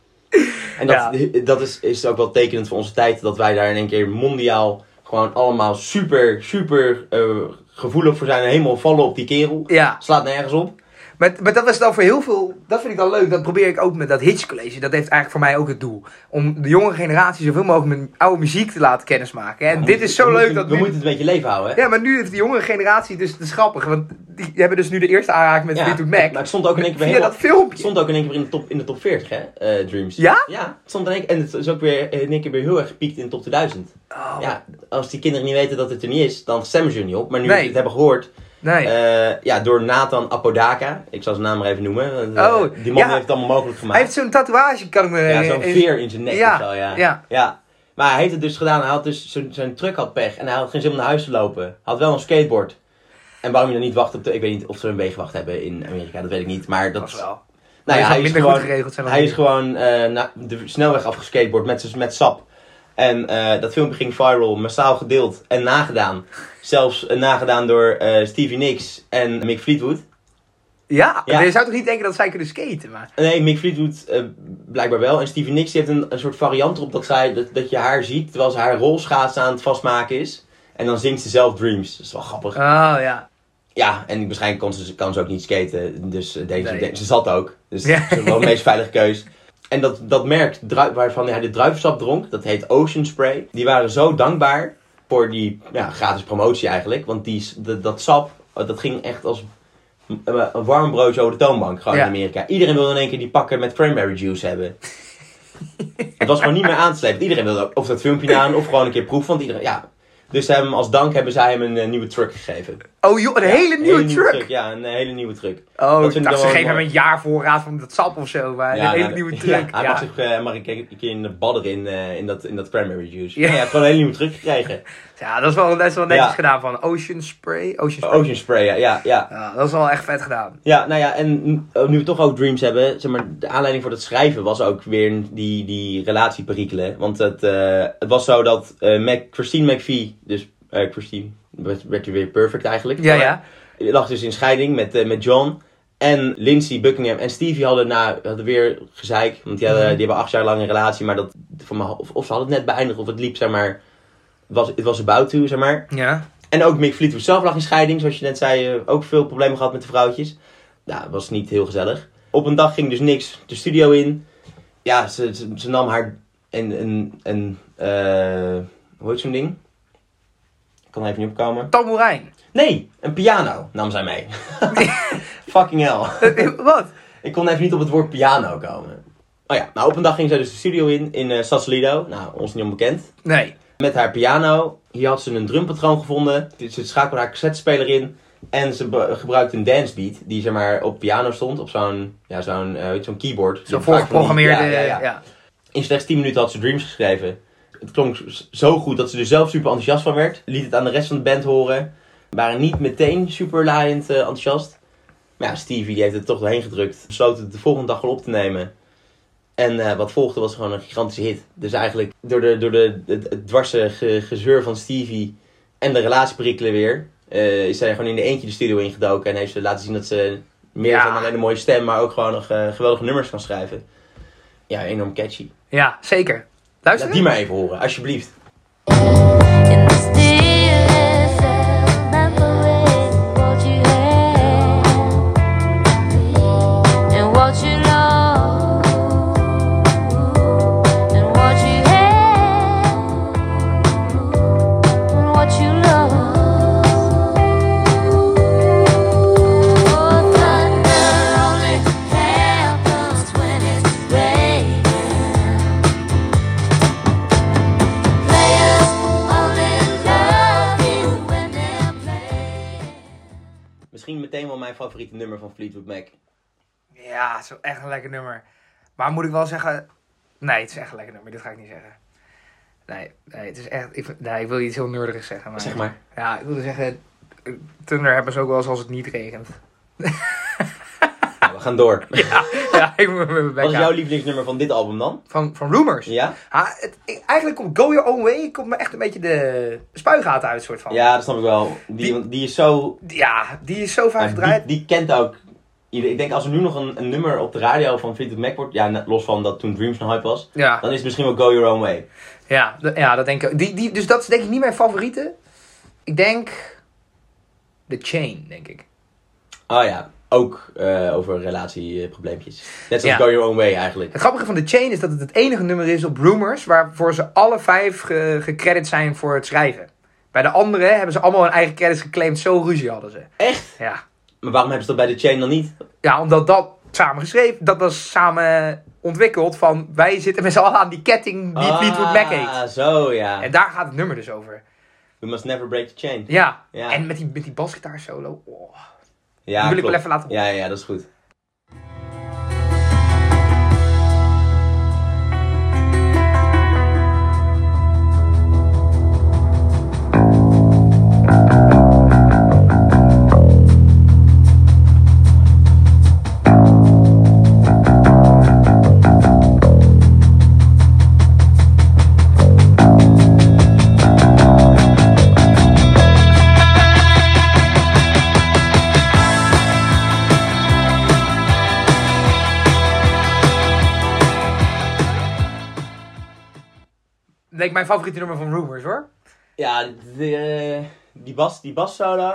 En dat, dat is, is ook wel tekenend voor onze tijd, dat wij daar in één keer mondiaal gewoon allemaal super, super eh, gevoelig voor zijn en helemaal vallen op die kerel.
Ja,
Slaat nergens op.
maar, maar dat was dan voor heel veel, dat vind ik dan leuk. Dat probeer ik ook met dat Hitch College. Dat heeft eigenlijk voor mij ook het doel. Om de jonge generatie zoveel mogelijk met oude muziek te laten kennismaken. En dit is zo
We
leuk
moeten-
dat
We
nu-
moeten het een beetje leven houden, hè?
Ja, maar nu heeft de jonge generatie dus, dat is grappig. Want die hebben dus nu de eerste aanraking met
Ja,
Fleetwood Mac.
Maar het stond ook in één keer bij
Via
helemaal-
dat filmpje.
Het stond ook in één keer in de top, in de top 40, hè, eh, Dreams.
Ja?
Ja. Het stond in één, en het is ook weer in één keer weer heel erg gepiekt in de top 2000.
Oh,
Ja, als die kinderen niet weten dat het er niet is, dan stemmen ze er niet op. Maar nu
Nee.
ze het hebben gehoord,
nee.
eh, ja, door Nathan Apodaca, ik zal zijn naam maar even noemen. want, eh,
Oh,
die man
ja.
heeft het allemaal mogelijk
Hij
gemaakt.
heeft zo'n tatoeage, kan ik me
ja, zo'n
eh,
veer in zijn nek
Ja,
of zo, ja.
ja.
Maar hij heeft het dus gedaan, hij had dus zijn, zijn truck had pech en hij had geen zin om naar huis te lopen. Hij had wel een skateboard. En waarom je dan niet wacht op de, ik weet niet of ze een wegenwacht hebben in Amerika, dat weet ik niet. Maar dat,
Dat is wel.
nou ja,
zou
hij is
minder
gewoon,
goed geregeld zijn dan
hij
nu.
is gewoon eh, na- de snelweg afgeskateboard met, z'n- met sap. En eh, dat filmpje ging viral, massaal gedeeld en nagedaan. Zelfs eh, nagedaan door eh, Stevie Nicks en Mick Fleetwood.
Ja,
Ja.
je zou toch niet denken dat zij kunnen skaten, maar...
Nee, Mick Fleetwood eh, blijkbaar wel. En Stevie Nicks die heeft een, een soort variant erop dat, zij, dat, dat je haar ziet terwijl ze haar rolschaats aan het vastmaken is. En dan zingt ze zelf Dreams. Dat is wel grappig.
Oh ja.
Ja, en waarschijnlijk kon ze, kan ze ook niet skaten. Dus eh, deed ze,
Nee.
deed- ze zat ook. Dus
Ja.
dat is wel de meest veilige keus. En dat, dat merk drui- waarvan hij de druivensap dronk, dat heet Ocean Spray. Die waren zo dankbaar voor die ja, gratis promotie eigenlijk. Want die, s- dat- dat sap, eh, dat ging echt als m- eh, een warm broodje over de toonbank gewoon
Ja.
in Amerika. Iedereen wilde in één keer die pakken met cranberry juice hebben. Het was gewoon niet meer aan te slepen. Iedereen wilde ook of dat filmpje aan of gewoon een keer proef. Want iedereen, ja, Dus ze hebben hem, als dank hebben zij hem een eh, nieuwe truck gegeven.
Oh joh, een hele
Een
nieuwe
hele
truck.
Ja, een eh, hele nieuwe truck.
Oh,
vind
ik
ik
dacht,
dan
ze
wel
geven hem
mooi.
een jaar voorraad van dat sap of zo. Maar een hele
nou,
nieuwe
ja,
truck. Ja,
hij mag zich eh, mag een keer een keer in de badder in, eh, in, dat, in dat cranberry juice.
Ja.
Ja. Hij heeft gewoon een hele nieuwe truck gekregen.
Ja, dat is wel, dat is wel netjes
Ja.
gedaan van Ocean Spray. Ocean Spray.
Ocean Spray, ja, ja, ja.
Ja, dat is wel echt vet gedaan.
Ja, nou ja, en nu- nu we toch ook Dreams hebben, zeg maar, de aanleiding voor dat schrijven was ook weer die, die relatieperikelen. Want het, eh, het was zo dat eh, Mac, Christine McVie, dus eh, Christine werd, werd weer perfect eigenlijk.
Ja,
Maar
ja.
Lag dus in scheiding met, eh, met John. En Lindsay Buckingham en Stevie hadden, na, hadden weer gezeik. Want die,
Mhm.
hadden, die hebben acht jaar lang een relatie, maar dat, van, me- of, of ze hadden het net beëindigd of het liep, zeg maar. Het was, het was about to, zeg maar.
Ja.
En ook Mick Fleetwood zelf lag in scheiding, zoals je net zei. eh, Ook veel problemen gehad met de vrouwtjes. Nou, was niet heel gezellig. Op een dag ging dus niks de studio in. Ja, ze, ze, ze nam haar en, en, en eh, hoe heet zo'n ding? Ik kan er even niet opkomen.
Tamboerijn.
Nee, een piano nam zij mee. Fucking hell.
Eh, Wat?
Ik kon even niet op het woord piano komen. Oh ja, nou op een dag ging zij dus de studio in, in eh Sassolido. Nou, ons niet onbekend.
Nee.
Met haar piano. Hier had ze een drumpatroon gevonden. Ze schakelde haar cassettespeler in. En ze be- gebruikte een dancebeat die zeg maar, op piano stond. Op zo'n ja, zo'n eh, weet je, zo'n keyboard. Je
Zo'n
hebt vaak van die-
voorgeprogrammeerde...
ja, ja, ja.
ja.
In slechts 10 minuten had ze Dreams geschreven. Het klonk s- zo goed dat ze er zelf super enthousiast van werd. Liet het aan de rest van de band horen. Waren niet meteen super laaiend eh, enthousiast. Maar ja, Stevie die heeft het toch doorheen gedrukt. Besloot het de volgende dag al op te nemen. En eh, wat volgde was gewoon een gigantische hit. Dus eigenlijk door, de, door de, het, het dwarse ge- gezeur van Stevie en de relatieperikelen weer... eh, is zij gewoon in de eentje de studio ingedoken. En heeft ze laten zien dat ze meer
Ja.
is dan alleen een mooie stem... maar ook gewoon nog eh, geweldige nummers kan schrijven. Ja, enorm catchy.
Ja, zeker.
Laat
Luister.
die maar even horen, alsjeblieft.
In the stillness of memories, what you had and what you lost, and what you had and what you lost. Oh, thunder only happens when it's raining. Players only love you when they're playing.
Misschien meteen wel mijn favoriete nummer van Fleetwood Mac.
Ja, het is wel echt een lekker nummer. Maar moet ik wel zeggen... Nee, het is echt een lekker nummer. Dit ga ik niet zeggen. Nee, nee het is echt... Ik, nee, ik wil iets heel nerdigs zeggen. Maar,
Zeg maar.
Ja, ik wilde zeggen... eh, Thunder hebben ze ook wel eens als het niet regent.
Nou, we gaan door.
ja, ik moet met mijn bek
Wat is jouw
houden.
lievelingsnummer van dit album dan?
Van, van Rumors.
Ja?
Ah, het, ik- eigenlijk komt Go Your Own Way komt me echt een beetje de spuigaten uit, soort van.
Ja, dat snap ik wel. Die, want die is zo...
Ja, die is zo vaak
Die,
gedraaid.
die kent ook... ieder- Ik denk als er nu nog een, een nummer op de radio van Fleetwood Mac wordt... Ja, net los van dat toen Dreams nog hype was.
Ja.
Dan is het misschien wel Go Your Own Way.
Ja, d- ja, dat denk ik. ook. Die, die, dus dat is denk ik niet mijn favoriete. Ik denk. The Chain, denk ik.
Oh ja, ook eh, over relatieprobleempjes. Net zoals
Ja.
Go Your Own Way eigenlijk.
Het grappige van The Chain is dat het het enige nummer is op Rumors waarvoor ze alle vijf ge- gecredit zijn voor het schrijven. Bij de andere hebben ze allemaal hun eigen credits geclaimd, zo ruzie hadden ze.
Echt?
Ja,
Maar waarom hebben ze dat bij The Chain dan niet?
ja omdat dat samen geschreven, dat was samen ontwikkeld van wij zitten met z'n allen aan die ketting die Fleetwood Mac heet.
Ah, zo ja.
En daar gaat het nummer dus over.
We must never break the chain.
Ja,
Ja.
en met die, met die basgitaar solo. Oh.
Ja,
Die wil ik wel
klopt.
even laten horen.
Ja, ja, dat is goed.
Leek mijn favoriete nummer van Rumors hoor.
Ja, de, eh, die bas, die bas solo.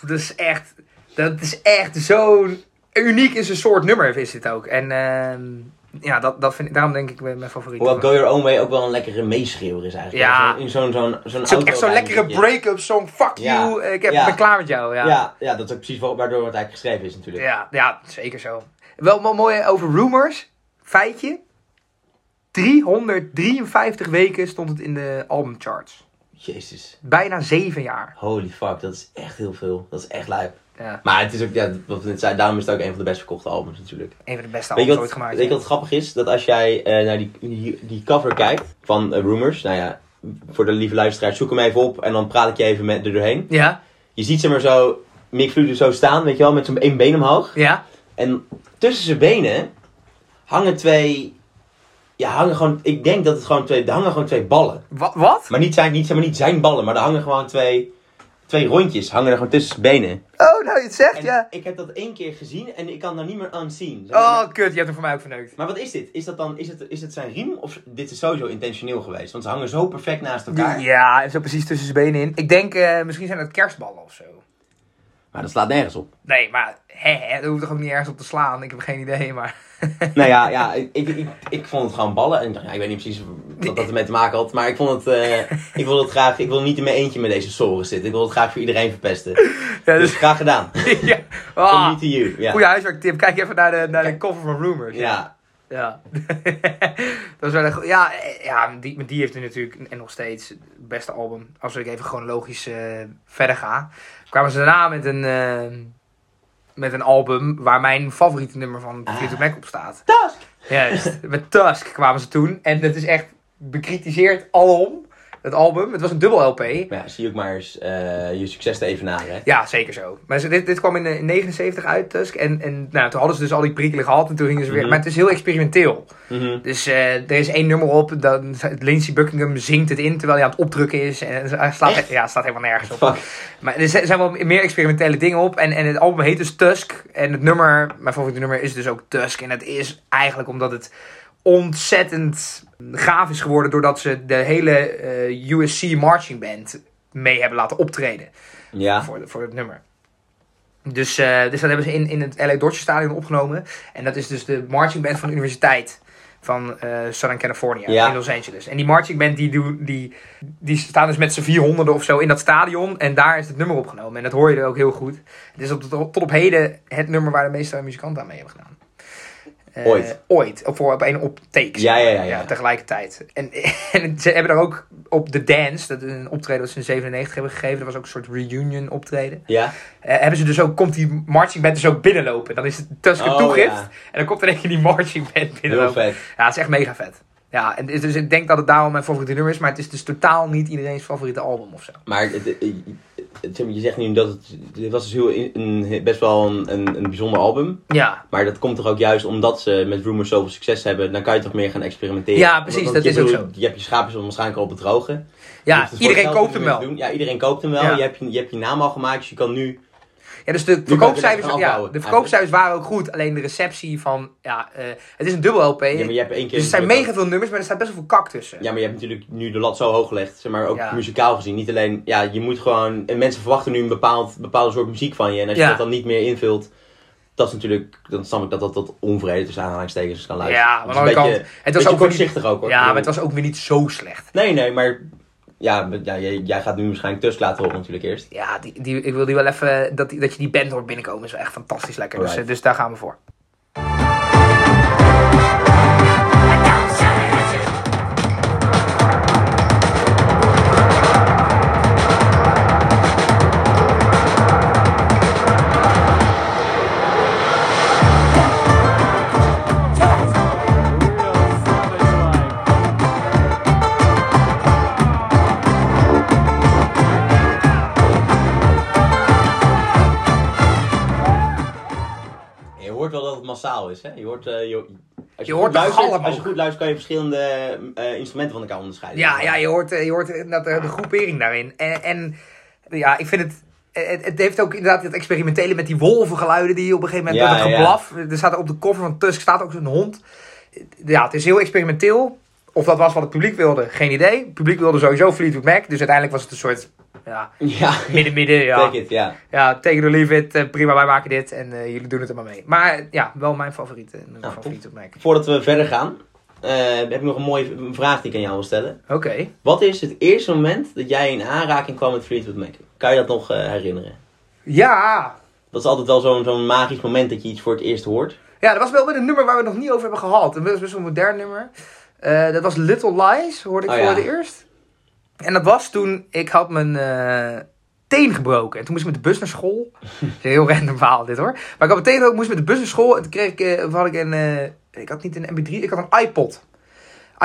Dat is echt, dat is echt zo'n uniek is een soort nummer is dit ook. En ehm, ja, dat, dat vind ik, daarom denk ik mijn mijn favoriet.
Hoewel Go Your Own Way ook wel een lekkere meeschreeuwer is eigenlijk.
Ja.
Zo- In zo'n zo'n zo'n
het is ook echt zo'n lekkere
autorijdertje.
break-up song. Fuck
Ja.
you, eh, ik heb,
Ja.
ben klaar met jou. Ja. Ja.
Ja, ja, dat is ook precies wa- waardoor het eigenlijk geschreven is natuurlijk.
Ja, zeker zo. Wel mo- mooi over rumors. Feitje. 353 weken stond het in de albumcharts.
Jezus.
Bijna zeven jaar.
Holy fuck, dat is echt heel veel. Dat is echt lijp.
Ja,
Maar het is ook, ja, wat we net zeiden, daarom is het ook een van de best verkochte albums natuurlijk.
een van de beste
Weet
albums
je
ooit
wat,
gemaakt.
weet je
ja.
wat grappig is? Dat als jij eh, naar die, die, die cover kijkt van eh, Rumors, nou ja, voor de lieve luisteraars, zoek hem even op en dan praat ik je even met, er doorheen.
Ja,
Je ziet ze maar zo, Mick Fluder zo staan, weet je wel, met zijn één been omhoog.
ja.
En tussen zijn benen hangen twee, ja, hangen gewoon, ik denk dat het gewoon twee, er hangen gewoon twee ballen.
Wa- wat?
Maar niet zijn, niet, zeg maar niet zijn ballen, maar er hangen gewoon twee, twee rondjes, hangen er gewoon tussen zijn benen.
Oh, nou je het zegt,
En
ja.
ik heb dat één keer gezien en ik kan dat niet meer aanzien. Zeg maar-
Oh, kut, je hebt hem voor mij ook verneukt.
Maar wat is dit? Is dat dan, is het, is het zijn riem of dit is sowieso intentioneel geweest? Want ze hangen zo perfect naast elkaar.
Ja, en zo precies tussen zijn benen in. Ik denk, eh, misschien zijn het kerstballen of zo.
Maar dat slaat nergens op.
Nee, maar hè, hè, dat hoeft toch ook niet ergens op te slaan? Ik heb geen idee, maar...
nou ja, ja ik, ik, ik, ik vond het gewoon ballen. En ik dacht, ja, ik weet niet precies wat dat ermee te maken had. Maar ik vond het, eh, ik wil het graag, ik wil niet in mijn eentje met deze soren zitten. Ik wil het graag voor iedereen verpesten.
Ja,
Dus
dus...
graag gedaan.
ja.
Kom
Ah,
niet you.
goeie
Ja.
huiswerktip. Kijk even naar de, naar de cover van Rumors.
ja.
Ja. dat is wel een go- Ja, eh, ja die, maar die heeft nu natuurlijk, en nog steeds, het beste album. Als ik even gewoon logisch eh, verder ga. Kwamen ze daarna met een, eh, met een album waar mijn favoriete nummer van Fleetwood Mac op staat.
Tusk!
Juist. met Tusk kwamen ze toen. En dat is echt bekritiseerd alom, het album. Het was een dubbel LP.
Maar ja, zie ook maar eens eh, je succes te evenaren. hè.
eh, Ja, zeker zo. Maar ze- dit, dit kwam in, eh, in 79 uit, Tusk. En, en nou, toen hadden ze dus al die prikkelen gehad en toen gingen ze weer...
Mhm.
Maar het is heel experimenteel.
Mhm.
Dus eh, er is één nummer op, dan, Lindsey Buckingham zingt het in terwijl hij aan het opdrukken is. En hij staat, ja, het staat helemaal nergens op.
Fuck.
Maar er zijn zijn wel meer experimentele dingen op. En, en het album heet dus Tusk. En het nummer, mijn favoriete nummer is dus ook Tusk. En het is eigenlijk omdat het ontzettend gaaf is geworden doordat ze de hele eh, USC Marching Band mee hebben laten optreden
Ja.
voor, voor het nummer. Dus, eh, dus dat hebben ze in, in het LA Dodger Stadion opgenomen. En dat is dus de marching band van de universiteit van eh, Southern California
Ja.
in Los Angeles. En die marching band die, doen- die, die staan dus met z'n 400 of zo in dat stadion. En daar is het nummer opgenomen. En dat hoor je er ook heel goed. Het is op, tot op heden het nummer waar de meeste muzikanten aan mee hebben gedaan. Eh,
Ooit.
Ooit. Op, voor, op één op take. zeg
Ja, ja,
maar.
ja, ja.
tegelijkertijd. En, en ze hebben daar ook op de dance, dat is een optreden dat ze in 97 hebben gegeven. Dat was ook een soort reunion optreden.
Ja.
Eh, hebben ze dus ook, komt die marching band dus ook binnenlopen. Dan is het Tusk een
Oh,
toegift.
ja.
En dan komt er een keer die marching band
Heel
binnenlopen.
vet.
Ja, het is echt mega vet. Ja, en dus dus ik denk dat het daarom mijn favoriete nummer is. Maar het is dus totaal niet iedereen's favoriete album of zo.
Maar het, het- het- je zegt nu dat het, dit was dus heel, in- een, best wel een, een, een bijzonder album.
Ja,
Maar dat komt toch ook juist omdat ze met Rumors zoveel succes hebben. Dan kan je toch meer gaan experimenteren.
Ja, precies,
Want- want
dat
je
is ook
bedoelt, Je hebt je schaapjes al waarschijnlijk al bedrogen.
ja
Dus het is voor
iedereen
geld
koopt
om
hem
ermee te
wel.
doen. Ja, iedereen koopt hem wel.
Ja.
Je, hebt je, je hebt je naam al gemaakt, dus je kan nu...
Ja, dus de
het
verkoopcijfers,
gaan
ja,
afbouwen,
de verkoopcijfers waren ook goed. Alleen de receptie van, ja, eh, het is een dubbel LP.
Ja, maar je hebt één keer...
dus er zijn mega veel nummers, maar er staat best wel veel kak tussen.
Ja, maar je hebt natuurlijk nu de lat zo hoog gelegd. Zeg maar ook
Ja.
muzikaal gezien. Niet alleen... Ja, je moet gewoon... En mensen verwachten nu een bepaald, bepaalde soort muziek van je. En als je
Ja.
dat dan niet meer invult... Dat is natuurlijk... Dan snap ik dat dat tot onvrede tussen aanhalingstekens kan leiden.
Ja, maar
Dat
aan
is een
de andere
beetje-
kant, het was
beetje
ook weer niet-
kortzichtig ook hoor.
Ja,
Ik
maar
bedoel-
het was ook weer niet zo slecht.
Nee, nee, maar... Ja, maar- ja jij, jij gaat nu waarschijnlijk Tusk laten horen natuurlijk eerst.
Ja, die, die, ik wil die wel even. Dat, die- dat je die band hoort binnenkomen is wel echt fantastisch lekker. Dus,
Alright.
eh, dus daar gaan we voor.
Je hoort wel dat het massaal is, hè? Je hoort... eh, je, als
Je hoort
goed
de
luistert-
galm
Als je
ook.
goed luistert kan je verschillende eh, instrumenten van elkaar onderscheiden.
Ja, ja je hoort, eh, je hoort inderdaad eh, de groepering daarin. En, en ja, ik vind het. eh, Het, het heeft ook inderdaad het experimentele met die wolvengeluiden die je op een gegeven moment
Ja,
met een geblaf. Er staat op de koffer van Tusk staat ook zo'n hond. Ja, het is heel experimenteel. Of dat was wat het publiek wilde, geen idee. Het publiek wilde sowieso Fleetwood Mac. Dus uiteindelijk was het een soort ja,
Ja.
midden-midden. Ja.
Take it, ja.
ja, take it or leave it. eh, prima, wij maken dit en eh, jullie doen het er maar mee. Maar eh, ja, wel mijn favoriete nummer
Nou,
van
top.
Fleetwood Mac.
Voordat we verder gaan, eh, heb ik nog een mooie v- vraag die ik aan jou wil stellen.
Oké.
Wat is het eerste moment dat jij in aanraking kwam met Fleetwood Mac? Kan je dat nog eh, herinneren?
Ja.
Dat is altijd wel zo'n zo'n magisch moment dat je iets voor het eerst hoort.
Ja, dat was wel weer een nummer waar we het nog niet over hebben gehad. Dat was best wel een modern nummer. Eh, dat was Little Lies, hoorde ik
Oh,
voor
ja.
het eerst. En dat was toen ik had mijn eh, teen gebroken. En toen moest ik met de bus naar school. Het is een heel random verhaal dit hoor. Maar ik had mijn teen gebroken, moest met de bus naar school. En toen kreeg ik, eh, of had ik een, eh, ik had niet een MP3, ik had een iPod.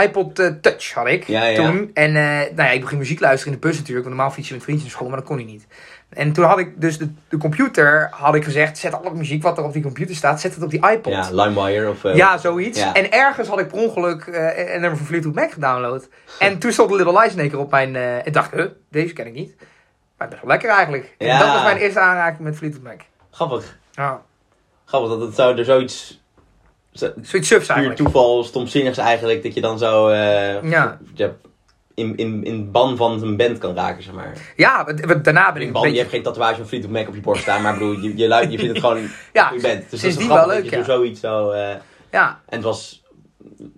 iPod eh, Touch had ik
Ja, ja.
toen. En eh, nou ja, ik begon muziek luisteren in de bus natuurlijk. Want normaal fiets je met vriendjes naar school, maar dat kon hij niet. En toen had ik dus de, de computer, had ik gezegd, zet alle muziek wat er op die computer staat, zet het op die iPod.
Ja, LimeWire of... eh,
Ja, zoiets.
Ja.
En ergens had ik per ongeluk eh, een nummer van Fleetwood Mac gedownload. En toen stond Little Lightsnake op mijn... eh en dacht ik, huh, deze ken ik niet. Maar best wel lekker eigenlijk. En
Ja.
dat was mijn eerste aanraking met Fleetwood Mac.
Grappig.
Ja,
Grappig dat het zou er zoiets... zo-
zoiets subs
Puur
eigenlijk.
toeval, stomzinnigs eigenlijk, dat je dan zo... eh,
Ja.
ja, in, in, in ban van een band kan raken, zeg maar.
Ja, want- want daarna ben ik
In
een
ban, je
beetje...
hebt geen tatoeage van Fleetwood Mac op je borst staan, maar ik bedoel, je, je, lu- je vindt het gewoon
Ja,
hoe je bent. Dus dat is
sindsdien
grappig dat
wel leuk,
je
ja.
door zoiets zo... eh,
Ja.
En het was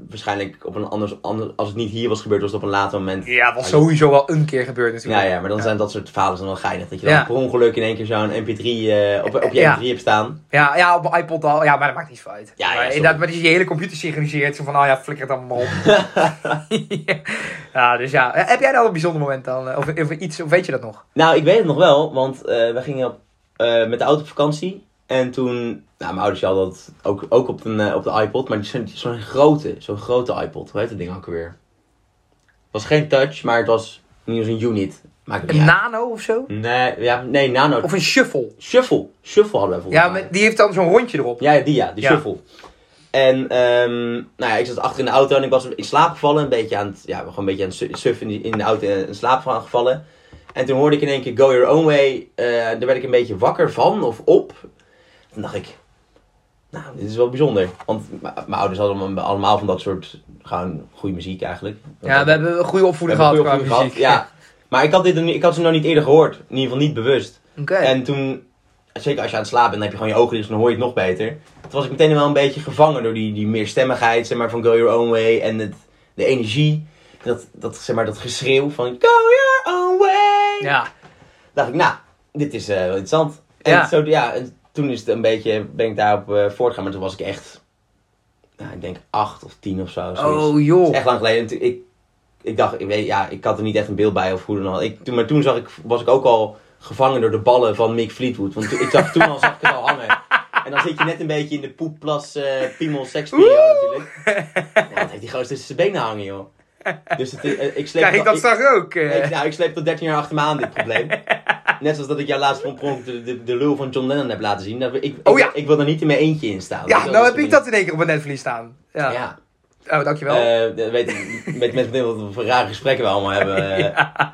waarschijnlijk op een anders, ander, als het niet hier was gebeurd, was het op een later moment.
ja, dat was sowieso wel een keer gebeurd natuurlijk.
Ah, Ja, ja, maar dan zijn dat soort verhalen dan wel geinig. Dat je
Ja.
dan per ongeluk in één keer zo'n mp3 eh, op, op je
Ja.
mp3 hebt staan.
Ja, ja, op mijn iPod al. Ja, maar dat maakt niet veel uit.
Ja, ja,
maar,
sorry.
inderdaad, maar die is je hele computer synchroniseert. Zo van, oh ja, flikker het allemaal maar op. ja, dus ja. Eh, Heb jij nou een bijzonder moment dan? eh, Of, of iets, of weet je dat nog?
Nou, ik weet het nog wel, want eh we gingen op, eh, met de auto op vakantie. En toen, nou, mijn ouders hadden dat ook, ook op, een, eh, op de iPod, maar die zijn- zo'n grote, zo'n grote iPod. Hoe heet dat ding ook alweer? Het was geen touch, maar het was niet eens een unit. Maakt het
Een
niet uit.
nano of zo?
Nee, ja, nee, nano.
Of een shuffle?
Shuffle. Shuffle hadden we volgens
Ja,
mij.
maar die heeft dan zo'n rondje erop.
Ja, ja, die ja, die
Ja.
shuffle. En ehm, nou ja, ik zat achter in de auto en ik was in slaap gevallen. Een beetje aan het, ja, gewoon een beetje aan het su- suffen in, die- in de auto en in slaap van- gevallen. En toen hoorde ik in één keer Go Your Own Way. eh, daar werd ik een beetje wakker van of op. Toen dacht ik, nou, dit is wel bijzonder. Want m- mijn ouders hadden me allemaal van dat soort, gewoon goede muziek eigenlijk.
Ja, we hebben een goede
We
opvoeding
hebben
gehad
goede
qua
opvoeding
muziek.
gehad, Ja, maar ik had, dit, nog niet- ik had ze nog niet eerder gehoord. In ieder geval niet bewust.
Oké.
En toen, zeker als je aan het slapen bent, dan heb je gewoon je ogen dicht en dan hoor je het nog beter. Toen was ik meteen wel een beetje gevangen door die, die meerstemmigheid zeg maar, van Go Your Own Way en het, de energie. En Dat, dat, zeg maar, dat geschreeuw van Go Your Own Way.
Ja,
dacht ik, nou, dit is eh, wel interessant. En,
Ja.
Zo, ja, en toen is het een beetje, ben ik daarop eh, voortgegaan, maar toen was ik echt, nou, ik denk acht of tien of zo. zoiets.
Oh, joh.
Dat is echt lang geleden. En toen- ik, ik dacht, ik, weet, ja, ik had er niet echt een beeld bij of hoe dan ook. Ik, toen, maar toen zag ik, was ik ook al gevangen door de ballen van Mick Fleetwood. Want toen- ik zag, toen al zag ik het al hangen. En dan zit je net een beetje in de poepplas eh piemel seksperiode natuurlijk. Ja, wat heeft die gozer tussen zijn benen hangen, joh. Dus het, eh, ik sleep
krijg
wel-
ik dat straks ook. eh.
ik, nou, ik sleep tot 13 jaar achter me aan dit probleem. Net zoals dat ik jou laatst van pronk de, de, de lul van John Lennon heb laten zien. Nou, ik, ik,
Oh ja.
ik wil er niet in mijn eentje in staan. Weet
ja,
je wel,
nou
is
heb ik
toch
dat in één keer op mijn netvlies staan. Ja.
niet- Ja.
Oh, dankjewel.
Eh, dat weet ik- met mensen met wat voor rare gesprekken we allemaal hebben. eh.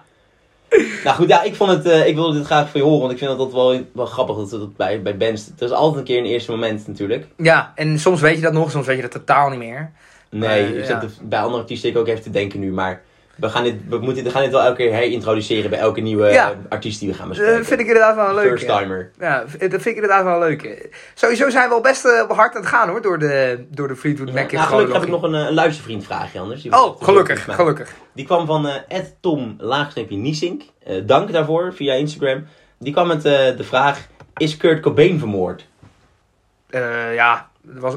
Nou goed, ja, ik, vond het, eh, ik wilde dit graag voor je horen. Want ik vind dat, dat wel, wel grappig dat het bij, bij bands... Er is altijd een keer een eerste moment natuurlijk.
ja, en soms weet je dat nog, soms weet je dat totaal niet meer.
Nee,
Eh,
ik
ja.
zit er- bij andere artiesten ik ook even te denken nu. Maar we gaan dit, we moeten, we gaan dit wel elke keer herintroduceren bij elke nieuwe
Ja.
eh, artiest die we gaan
Dat
bespreken.
Dus, vind ik inderdaad wel een leuke.
First timer.
Ja, v- dat vind ik inderdaad wel een leuke. Sowieso zijn we al best eh, hard aan het gaan hoor, door de, door de Fleetwood Mac.
nou, gelukkig heb ik
chronologie.
nog een, eh, een luistervriend vraagje anders. Die was-
Oh, gelukkig, gelukkig.
Die kwam van eh, Ed Tom laagstreepje Niesink. Eh, dank daarvoor via Instagram. Die kwam met eh, de vraag: Is Kurt Cobain vermoord?
Eh, ja, dat was,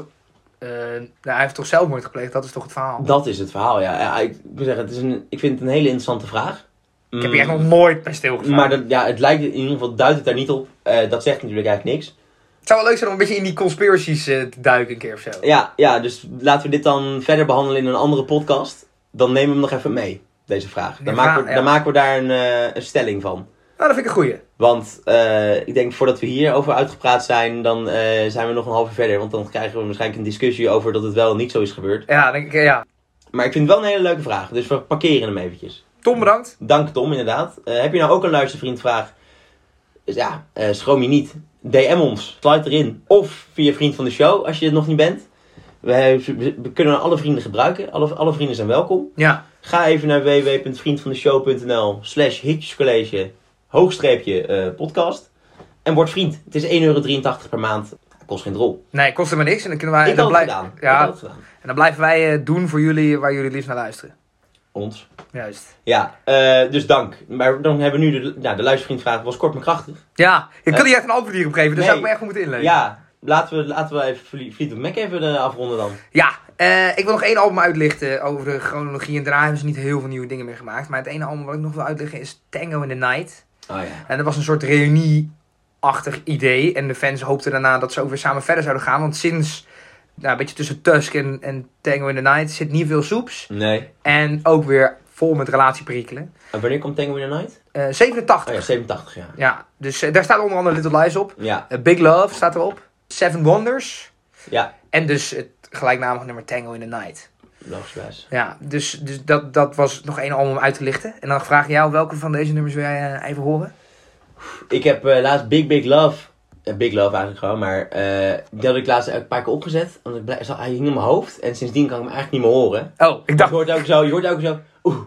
eh, nou, hij heeft toch zelfmoord gepleegd, dat is toch het verhaal?
Dat is het verhaal, ja. Ja, ik, moet zeggen, het is een, ik vind het een hele interessante vraag. Mm,
Ik heb hier echt nog nooit bij stilgestaan.
Maar dat, ja, het lijkt in ieder geval, duidt het daar niet op. Eh, dat zegt natuurlijk eigenlijk niks.
Het zou wel leuk zijn om een beetje in die conspiracies eh, te duiken een keer of zo.
Ja, ja, dus laten we dit dan verder behandelen in een andere podcast. Dan nemen we hem nog even mee, deze vraag. Dan,
Die
maken, we,
vraag,
dan
ja.
maken we daar een, eh, een stelling van.
Nou, dat vind ik een goeie.
Want eh, ik denk voordat we hierover uitgepraat zijn, dan eh, zijn we nog een half uur verder. Want dan krijgen we waarschijnlijk een discussie over dat het wel en niet zo is gebeurd.
Ja, denk ik, eh, ja.
Maar ik vind het wel een hele leuke vraag, dus we parkeren hem eventjes.
Tom, bedankt.
Dank Tom, inderdaad. Eh, heb je nou ook een luistervriendvraag? Dus ja, eh, schroom je niet. DM ons, sluit erin. Of via vriend van de show, als je het nog niet bent. We, we- we kunnen alle vrienden gebruiken. Alle, alle vrienden zijn welkom.
Ja.
Ga even naar www.vriendvandeshow.nl slash hitjescollege hoogstreepje eh, podcast. En word vriend. Het is 1,83 euro per maand. Dat kost geen drol.
Nee, kost het maar niks. En dan kunnen wij.
Ik
dan
had het
blij-
gedaan. Ik
Ja,
had het gedaan.
en dan blijven wij eh, doen voor jullie waar jullie liefst naar luisteren.
Ons.
Juist.
Ja, eh, dus dank. Maar dan hebben we nu de, nou, de luistervriendvraag. was kort maar krachtig.
Ja, je kunt hier echt een antwoord hierop geven, dus
Nee.
zou ik me echt moeten inleven.
Ja, laten we, laten we even Fle- Fleetwood Mac even eh, afronden dan.
Ja, eh, ik wil nog één album uitlichten over de chronologie. En daarna hebben ze niet heel veel nieuwe dingen meer gemaakt. Maar het ene album wat ik nog wil uitleggen is Tango in the Night.
Oh ja.
En dat was een soort reunie-achtig idee. En de fans hoopten daarna dat ze ook weer samen verder zouden gaan. Want sinds, nou, een beetje tussen Tusk en, en Tango in the Night zit niet veel soeps.
Nee.
En ook weer vol met relatieperikelen.
En wanneer komt Tango in the Night?
Eh 87.
Oh ja,
ja.
87 ja.
dus eh, daar staat onder andere Little Lies op.
Ja,
Eh, Big Love staat erop. Seven Wonders.
ja.
En dus het gelijknamige nummer Tango in the Night.
Logisch
Ja, dus, dus dat, dat was nog één album om uit te lichten. En dan vraag ik jou, welke van deze nummers wil jij eh, even horen?
Ik heb eh, laatst Big Big Love. eh, Big Love eigenlijk gewoon, maar eh, die had ik laatst een paar keer opgezet. Want ik blij- zat- hij hing in mijn hoofd en sindsdien kan ik hem eigenlijk niet meer horen.
Oh, ik
Je
dacht,
hoort ook zo, je hoort ook zo. Oeh.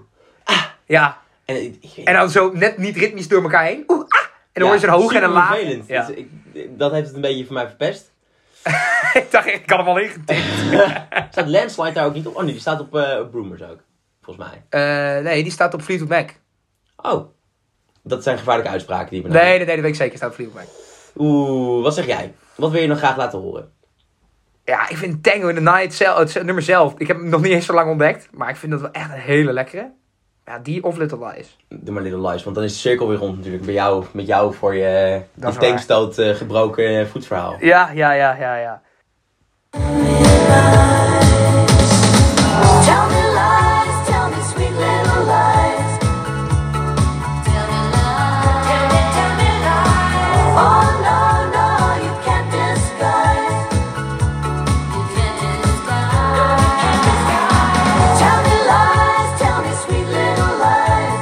ja.
En, ik- ik weet-
En dan zo net niet ritmisch door elkaar heen. Oeh, ah! En dan hoor je
Ja,
zo'n hoog en
super
een laag.
vervelend.
Ja.
Dus ik- dat heeft het een beetje voor mij verpest.
ik dacht, ik kan hem al ingetikt.
Staat Landslide daar ook niet op? Oh nee, die staat op eh op Rumors ook. Volgens mij.
Eh, nee, die staat op Fleetwood Mac.
Oh. Dat zijn gevaarlijke uitspraken die we nou-
Nee, nee, nee, dat weet ik zeker. Staat op Fleetwood Mac.
Oeh, wat zeg jij? Wat wil je nog graag laten horen?
Ja, ik vind Tango in the Night, zelf, het nummer zelf. Ik heb hem nog niet eens zo lang ontdekt. Maar ik vind dat wel echt een hele lekkere. Ja, die of Little Lies.
Doe maar Little Lies, want dan is de cirkel weer rond natuurlijk. Bij jou, met jou voor je,
Dat
je
is waar.
tankstoot eh, gebroken voetverhaal.
Ja, ja, ja, ja, ja.
Tell me lies, tell me sweet little lies. Tell me lies. Tell me, tell me lies. Oh no, no, you can't disguise. You can't disguise. No, you can't disguise. Tell me lies, tell me sweet little lies.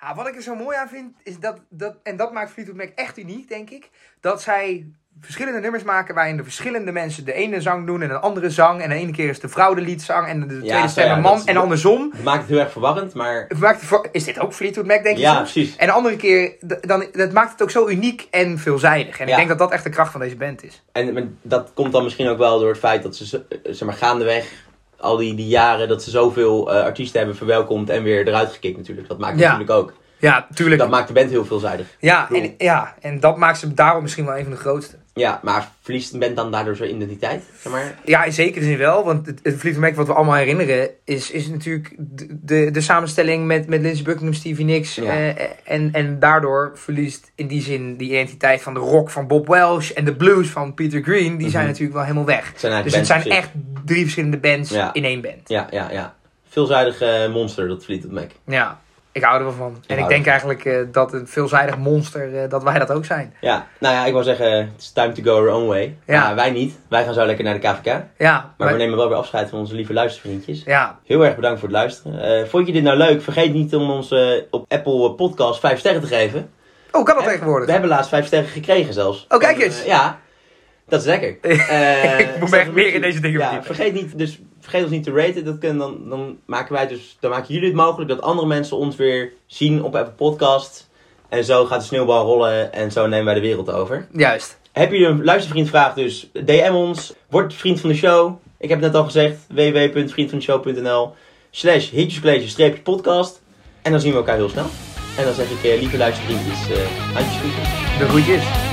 Ja, Ah, wat ik er zo mooi aan vind, is dat, dat, en dat maakt Fleetwood Mac echt uniek, denk ik, dat zij verschillende nummers maken waarin de verschillende mensen de ene zang doen en een andere zang. En de ene keer is de vrouw de liedzang en de tweede
zo
stem
ja,
een
dat
man
is-
en andersom.
Het maakt het heel erg verwarrend, maar
Het maakt voor- is dit ook Fleetwood Mac, denk je
Ja,
soms?
precies.
En de andere keer, d- dan, dat maakt het ook zo uniek en veelzijdig. En ik
Ja.
denk dat dat echt de kracht van deze band is.
en, maar dat komt dan misschien ook wel door het feit dat ze zo- eh, zeg maar, gaandeweg al die, die jaren dat ze zoveel eh, artiesten hebben verwelkomd en weer eruit gekikt natuurlijk. Dat maakt het
Ja.
natuurlijk ook.
Ja, tuurlijk.
Dat maakt de band heel veelzijdig.
ja,
Ik bedoel,
en, ja, en dat maakt ze daarom misschien wel een van de grootste.
ja, maar verliest de band dan daardoor zijn identiteit? Zeg maar.
Ja, in zekere zin wel. Want het, het Fleetwood Mac wat we allemaal herinneren... is, is natuurlijk de, de, de samenstelling met, met Lindsey Buckingham, Stevie Nicks.
Ja.
eh, en, en daardoor verliest in die zin die identiteit van de rock van Bob Welsh... en de blues van Peter Green. Die zijn natuurlijk wel helemaal weg.
Mhm. zijn eigenlijk
dus het
bands
zijn
op zich.
echt drie verschillende bands
Ja.
in één band.
Ja, ja, ja. Veelzijdig eh, monster, dat Fleetwood Mac.
Ja, ik hou er wel van. en ik
hou
denk
ervan.
eigenlijk eh, dat een veelzijdig monster... eh, dat wij dat ook zijn.
Ja, nou ja, ik wou zeggen, it's time to go our own way.
Ja.
Ja. wij niet. Wij gaan zo lekker naar de KVK. Maar
Ja,
we nemen wel weer afscheid van onze lieve luistervriendjes.
ja,
Heel erg bedankt voor het luisteren. Eh, vond je dit nou leuk? Vergeet niet om ons eh, op Apple Podcast 5 sterren te geven.
Oh, kan dat
We
tegenwoordig?
hebben laatst 5 sterren gekregen zelfs.
Oh, kijk eens.
Eh, ja, dat is lekker.
Ik moet me
Eh,
echt meer in deze dingen
ja,
verdiepen.
vergeet, niet, dus, vergeet ons niet te raten. Dat kunnen, dan, dan, maken wij dus, dan maken jullie het mogelijk dat andere mensen ons weer zien op Apple Podcast. En zo gaat de sneeuwbal rollen en zo nemen wij de wereld over.
Juist.
Heb je een luistervriendvraag, dus DM ons. Word vriend van de show. Ik heb het net al gezegd, www.vriendvandeshow.nl slash hitjescollege streepje podcast. En dan zien we elkaar heel snel. En dan zeg ik, eh, lieve luistervriendjes, eh handjes groeten.
De groetjes.